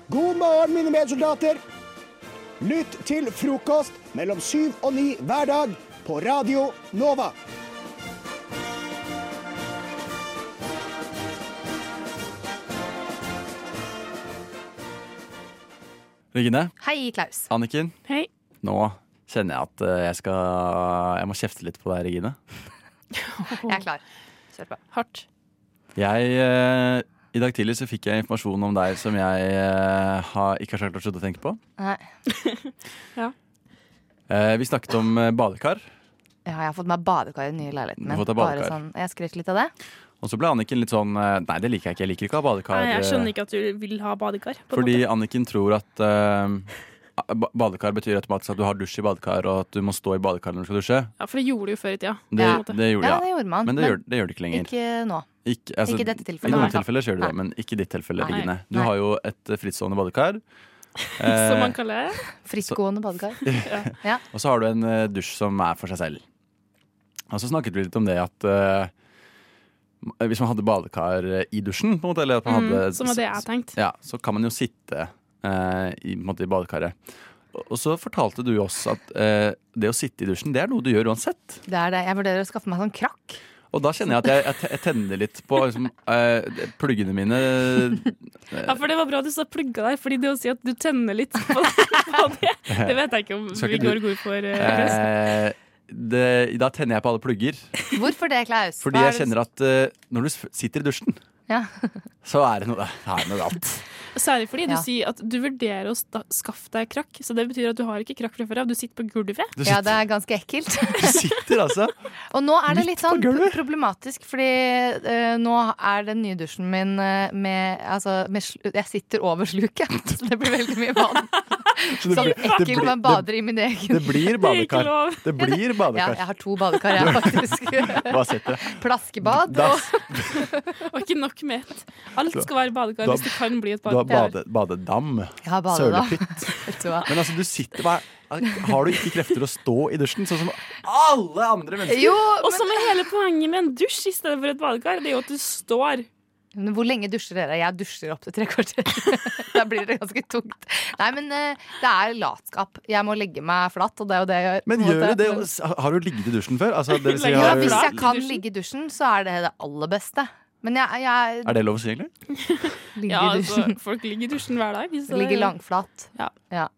S11: God morgen, mine medsoldater. Lytt til frokost mellom syv og ni hver dag på Radio Nova.
S6: Regine,
S21: Hei, Klaus.
S6: Anniken,
S22: Hei.
S6: nå kjenner jeg at eh, jeg skal Jeg må kjefte litt på deg, Regine.
S21: Jeg er klar. Kjør på.
S22: Hardt.
S6: Jeg, eh, I dag tidlig så fikk jeg informasjon om deg som jeg eh, har, ikke har klart å slutte å tenke på.
S21: Nei.
S6: Eh, Vi snakket om eh, badekar,
S21: Ja, jeg har fått meg badekar i den nye leiligheten
S6: Du
S21: min.
S6: får ta
S21: Bare
S6: badekar.
S21: sånn, jeg skrøt litt av det.
S6: og så ble Anniken litt sånn eh, Nei, det liker jeg ikke. Jeg liker ikke å ha badekar.
S22: Nei, jeg
S6: eh,
S22: skjønner ikke at du vil ha badekar. på en
S6: Fordi
S22: måte.
S6: Anniken tror at eh, ba- badekar betyr automatisk at du har dusj i badekar, og at du må stå i badekar når du skal dusje.
S22: Ja, for det gjorde du jo før i tida. på en
S6: Det,
S22: måte.
S6: det
S21: Ja,
S6: gjorde jeg.
S21: det gjorde man,
S6: Men det
S21: men
S6: gjør det, gjør det ikke lenger.
S21: Ikke nå.
S6: Ikke, altså,
S21: Ikke i dette tilfellet, i
S6: I noen
S21: hvert fall.
S6: tilfeller så gjør du det,
S21: Nei.
S6: men ikke i ditt tilfelle,
S21: Nei.
S6: Regine. Du
S21: Nei.
S6: har jo et eh, frittstående badekar.
S21: Som
S6: Eh,
S21: man kaller det. Frittgående badekar. Ja.
S6: Og så har du en eh, dusj som er for seg selv. Og så snakket vi litt om det at eh, hvis man hadde badekar eh, i dusjen, på en måte, eller at man
S22: Mm,
S6: hadde
S22: som var det jeg tenkte.
S6: Ja, så kan man jo sitte eh, i, på en måte, i badekaret. Og- Og så fortalte du oss at eh, det å sitte i dusjen, det er noe du gjør uansett.
S21: Det er det. Jeg vurderer å skaffe meg sånn krakk.
S6: Og da kjenner jeg at jeg, jeg, te- jeg tenner litt på liksom, eh, pluggene mine. eh,
S22: Ja, for det var bra du sa plugga der, fordi det å si at du tenner litt på det, på det, det vet jeg ikke om
S6: Skal
S22: vi
S6: ikke du-
S22: går god for. eh, Klaus.
S6: eh, det, da tenner jeg på alle plugger.
S21: Hvorfor det, Klaus?
S6: Fordi
S21: Hva er
S6: jeg
S21: det-
S6: kjenner at eh, når du s- sitter i dusjen,
S21: Ja.
S6: så er det noe, det er noe galt.
S22: Særlig fordi du
S21: Ja.
S22: sier at du vurderer å sta- skaffe deg krakk, så det betyr at du har ikke krakk fra før av, du sitter på gulvet.
S6: Du
S21: ja, det er ganske ekkelt.
S6: Sitter altså
S21: Og nå er det litt sånn problematisk, fordi eh, nå er den nye dusjen min eh, med, altså, med slu, Jeg sitter over sluket, så det blir veldig mye vann.
S6: Så det
S21: Sånn
S6: blir- det
S21: ekkelt
S6: blir-
S21: man bader i min egen.
S6: det blir badekar. Det blir
S21: Ja, Ja,
S6: badekar.
S21: jeg har to badekar, jeg,
S6: Hva
S21: faktisk.
S6: setter jeg?
S21: Plaskebad
S6: Da-
S21: og
S22: Og ikke nok med ett. Alt skal være badekar
S6: Da-
S22: hvis det kan bli et
S6: Du har
S22: badekar.
S6: bade, badedam.
S21: Jeg har badet, da.
S6: Sølepytt.
S21: Vet du hva?
S6: Men altså, du sitter hva er- Har du ikke krefter å stå i dusjen, sånn som alle andre mennesker?
S22: Og som er hele poenget med en dusj i stedet for et badekar, det er jo at du står.
S21: Men hvor lenge dusjer dere? Jeg dusjer opp til tre kvarter. da blir det ganske tungt. Nei, men eh, det er latskap. Jeg må legge meg flatt, og det er jo det jeg gjør.
S6: Men
S21: på en
S6: gjør
S21: måte.
S6: du det? Har du ligget i dusjen før? Altså, det vil si,
S21: ja,
S6: har du-
S21: hvis jeg kan ligge i dusjen, så er det det aller beste. Men jeg, jeg
S6: Er det lov å si, egentlig?
S21: ligger
S22: Ja,
S21: i
S22: altså,
S21: dusjen.
S22: folk ligger i dusjen hver dag. så det-
S21: ligger langflat. Ja.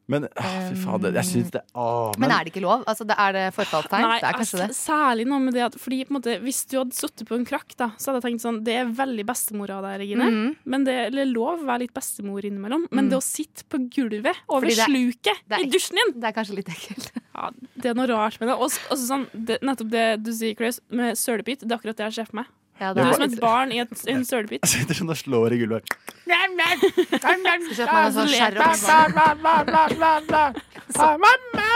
S6: Men å, fy fader, jeg syns det ah, å,
S21: Men er det ikke lov? Altså, det er det forfallstegn?
S22: Nei,
S21: Det er kanskje
S22: altså,
S21: det.
S22: Særlig noe med det at fordi, på en måte, Hvis du hadde sittet på en krakk, da, så hadde jeg tenkt sånn Det er veldig bestemor av deg, Regine.
S21: Mhm.
S22: Men det eller lov å være litt bestemor innimellom. Men
S21: Mm.
S22: det å sitte på gulvet over
S21: Fordi det er-
S22: sluket
S21: det er
S22: i dusjen din
S21: Det er kanskje litt ekkelt.
S22: Ja, det er noe rart med det. Og s- altså sånn, det, nettopp det du sier, Chris, med sølepytt, det er akkurat det jeg ser for meg.
S21: Ja,
S22: du
S6: det
S22: er
S6: er-
S22: som et barn i et, en sølepytt.
S6: Jeg sitter sånn og slår i gulvet.
S22: Skal
S21: kjøpe meg en sånn
S22: Mamma!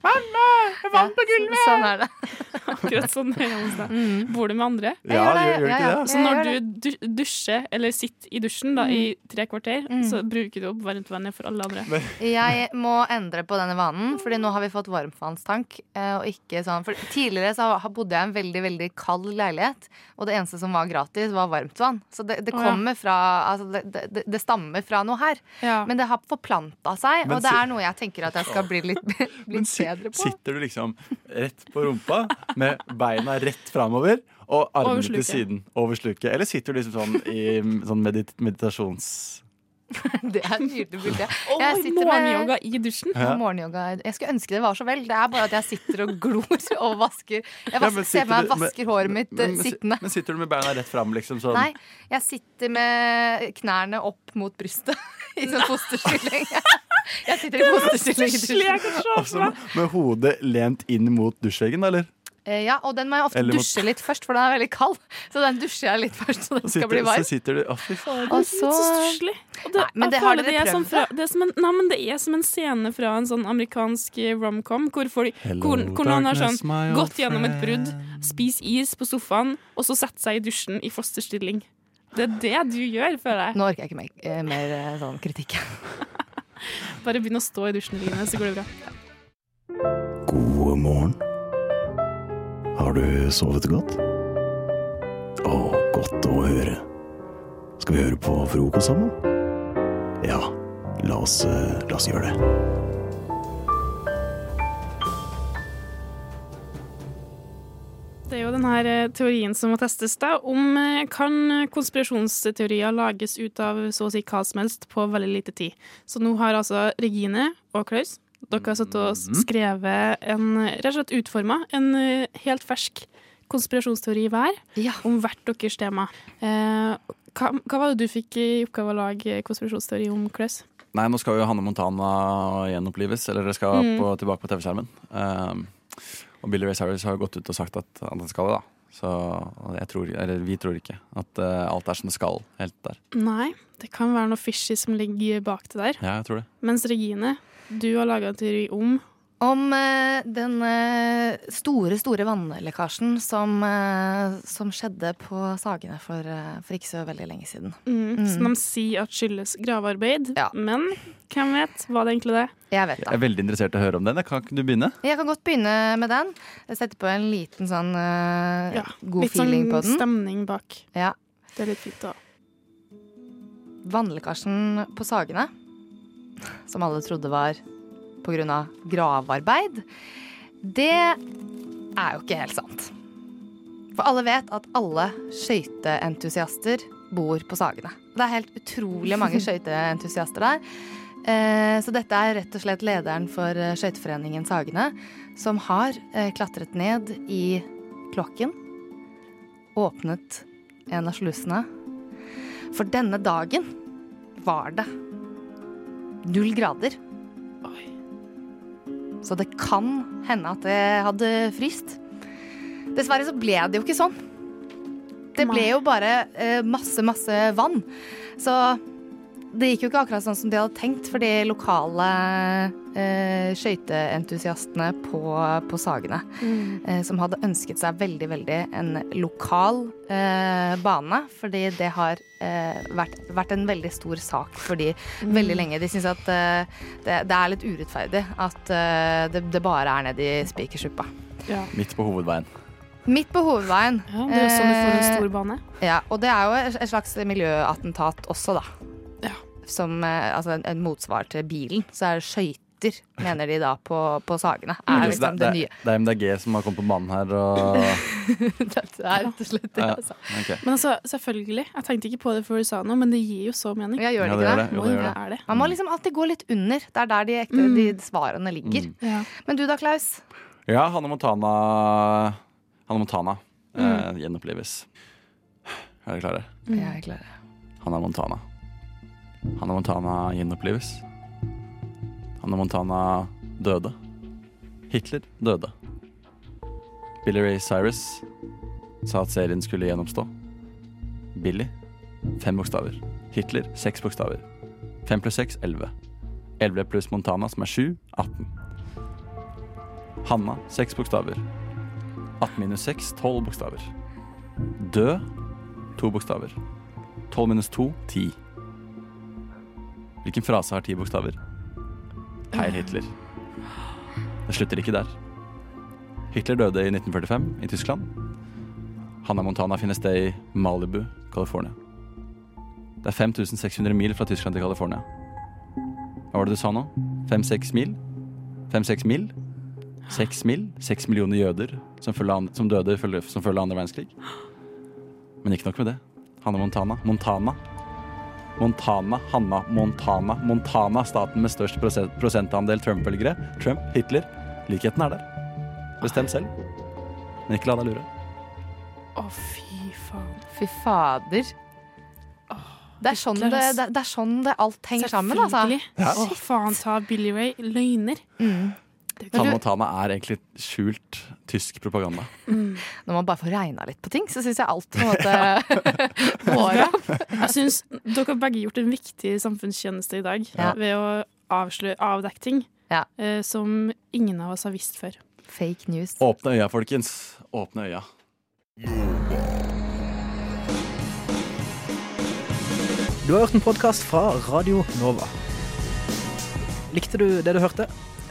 S22: Mamma! Jeg vant på gulvet!
S21: Sånn er det.
S22: Akkurat sånn er det hos deg. Bor du med andre?
S6: Ja, Mm. Ja, gjør- gjør du ja, ikke ja. det?
S22: Så når
S6: Jeg gjør
S22: du du- dusjer, eller sitter i dusjen da,
S6: Mm.
S22: i tre kvarter, så bruker du opp varmtvannet for alle andre.
S21: Jeg må endre på denne vanen, Fordi nå har vi fått varmtvannstank. eh, Og ikke sånn, for tidligere så har- bodde jeg i en veldig veldig kald leilighet, og det eneste som var gratis, var varmtvann. Så det, det
S22: Å, ja.
S21: kommer fra altså det, det- det, det stammer fra noe her. Men det har forplanta seg,
S6: Men
S21: og det
S6: si-
S21: er noe jeg tenker at jeg skal bli litt, litt bedre på.
S6: Sitter du liksom rett på rumpa med beina rett framover, Og armene
S22: Over
S6: til
S22: sluket.
S6: siden. Over sluket. Eller sitter du liksom sånn i sånn medit meditasjons...
S21: Det er et nydelig bilde.
S22: Og morgenyoga i dusjen.
S6: Ja.
S21: Morgenyoga. Jeg skulle ønske det var så vel. Det er bare at jeg sitter og glor og vasker. Jeg
S6: Ja,
S21: vasker,
S6: men
S21: ser
S6: sitter
S21: for meg
S6: du-
S21: jeg vasker håret mitt eh,
S6: men- men si-
S21: sittende.
S6: Men sitter du med beina rett fram, liksom sånn?
S21: Nei, jeg sitter med knærne opp mot brystet i sånn fosterstilling. Jeg sitter i
S9: Det var
S21: fosterstilling i
S9: det største jeg kan se
S21: dusjen.
S9: for meg.
S6: Med hodet lent inn mot dusjveggen, da, eller?
S21: Eh, Ja, og den må jeg ofte
S6: Eller mot-
S21: dusje litt først, for den er veldig kald. Så den dusjer jeg litt først, så den
S6: Så
S21: skal
S6: sitter,
S21: bli varm.
S6: Så sitter du, å, fy faen.
S21: Og
S22: Det er så
S21: så-
S22: stusslig. Og det,
S21: Nei, men
S22: jeg
S21: det har
S22: føler
S21: dere
S22: er som
S21: prøvd,
S22: fra, det er som en, nei, men det er som en scene fra en sånn amerikansk eh, romcom hvor, folk,
S6: Hello,
S22: hvor, hvor noen har sånn
S6: darkness, my old
S22: gått gjennom et brudd, spist is på sofaen, og så setter seg i dusjen i fosterstilling. Det er det du gjør, føler jeg.
S21: Nå orker jeg ikke mer, eh, mer eh, sånn kritikk.
S22: Bare begynn å stå i dusjen, Line, så går det bra.
S12: God morgen. Har du sovet godt? Å, godt å høre. Skal vi høre på frokost sammen? Ja, la oss, eh, la oss gjøre det.
S22: Det er jo den her eh, teorien som må testes, da, om eh, kan konspirasjonsteorier lages ut av så å si hva som helst på veldig lite tid. Så nå har altså Regine og Klaus dere har satt og s- skrevet en eh, rett og slett utforma en eh, helt fersk konspirasjonsteori hver om hvert deres tema. Eh, hva, hva var det du fikk i oppgave å lage konspirasjonsteori om, Klaus?
S6: Nei, nå skal jo Hanne Montana gjenopplives, eller det skal
S22: Mm.
S6: på, tilbake på TV-skjermen. Um, og Billy Ray Cyrus har jo gått ut og sagt at, at han skal det, da. Så og jeg tror, eller vi tror ikke at eh, alt er som det skal helt der.
S22: Nei, det kan være noe fishy som ligger bak det der.
S6: Ja, jeg tror det.
S22: Mens Regine, du har laga en teori om
S21: Om eh, den eh, store, store vannlekkasjen som, eh, som skjedde på Sagene for, eh, for ikke så veldig lenge siden.
S22: Mm, Som de sier at skyldes gravearbeid. Men hvem vet? Var det egentlig det?
S21: Jeg vet
S6: Jeg er veldig interessert i å høre om den. Kan ikke du begynne?
S21: Jeg kan godt begynne med den. Sette på en liten sånn eh, god
S22: litt
S21: feeling
S22: sånn
S21: på den.
S22: stemning bak.
S21: Ja.
S22: Det er litt fint, da.
S21: Vannlekkasjen på Sagene, som alle trodde var pga. gravarbeid, det er jo ikke helt sant. For alle vet at alle skøyteentusiaster bor på Sagene. Det er helt utrolig mange skøyteentusiaster der. Eh, Så dette er rett og slett lederen for eh, skøyteforeningen Sagene, som har eh, klatret ned i kloakken, åpnet en av slusene. For denne dagen var det null grader. Så det kan hende at det hadde fryst. Dessverre så ble det jo ikke sånn. Det ble jo bare eh, masse, masse vann. Så det gikk jo ikke akkurat sånn som de hadde tenkt for de lokale eh, skøyteentusiastene på, på Sagene.
S9: Mm.
S21: Eh, som hadde ønsket seg veldig, veldig en lokal eh, bane. Fordi det har eh, vært, vært en veldig stor sak for de veldig
S22: Mm.
S21: lenge. De syns at eh, det, det er litt urettferdig at eh, det, det bare er nede i Spikersuppa.
S6: Midt på hovedveien.
S21: Midt på hovedveien.
S22: Ja, det er jo sånn du får en
S21: Eh,
S22: stor bane.
S21: Ja, og det er jo et- et slags miljøattentat også, da. Som eh, altså en, en motsvar til bilen. Så er det skøyter, mener de da, på, på Sagene. Er
S6: Så
S21: liksom
S6: det,
S21: det
S6: det,
S21: nye.
S6: det er MDG som har kommet på banen her. Og,
S21: Det er rett og slett det,
S6: ja,
S21: altså.
S6: ok.
S22: Men altså, selvfølgelig. Jeg tenkte ikke på det før du sa noe, men det gir jo så mening.
S21: Ja, gjør
S6: Ja,
S21: det ikke
S6: det gjør
S21: det?
S6: det. Jo, det gjør det.
S21: Ja. Man må liksom alltid gå litt under. Det er der de, ekte,
S22: Mm.
S21: de svarene ligger.
S6: Mm.
S21: Men du da, Klaus?
S6: Ja, Hanne Montana Hanne Montana
S21: Mm.
S6: eh, gjenoppleves. Er dere klare?
S22: Mm.
S21: Ja, jeg klarer det.
S6: Hanna Montana. Hanna Montana gjenopplives. Hanna Montana døde. Hitler døde. Billy Ray Cyrus sa at serien skulle gjenoppstå. Billy fem bokstaver. Hitler seks bokstaver. Fem pluss seks elleve. Elleve pluss Montana, som er sju, 18. Hanna seks bokstaver. 18 minus seks, tolv bokstaver. Død to bokstaver. 12 minus 2, 10. Hvilken frase har ti bokstaver? Heil Hitler. Det slutter ikke der. Hitler døde i 1945 i Tyskland. Hanna Montana finner sted i Malibu, California. Det er 5600 mil fra Tyskland til California. Hva var det du sa nå? 5-6 mil? 5-6 mil? Seks mil, seks millioner jøder som, følge an- som døde følge- som følge av andre verdenskrig. Men ikke nok med det. Hanne Montana. Montana. Montana, Hanna Montana. Montana, staten med størst prosent- prosentandel Trump-velgere. Trump, Hitler. Likheten er der. Bestem selv. Men ikke la deg lure.
S21: Å, fy faen. Fy fader. Det er, sånn det,
S22: Hitler, ass.
S21: det, det er sånn det alt henger sammen, altså.
S22: Selvfølgelig. Å, faen ta Billy Ray. Løgner.
S21: Mm.
S6: Hanne Montana er egentlig skjult tysk propaganda.
S22: Mm.
S21: Når man bare får regna litt på ting, så syns jeg alt på en måte går opp.
S22: Jeg synes dere har begge gjort en viktig samfunnstjeneste i dag
S21: Ja.
S22: ved å avsløre, avdekke ting eh, som ingen av oss har visst før.
S21: Fake news.
S6: Åpne øya, folkens. Åpne øya.
S12: Du har hørt en podkast fra Radio Nova. Likte du det du hørte?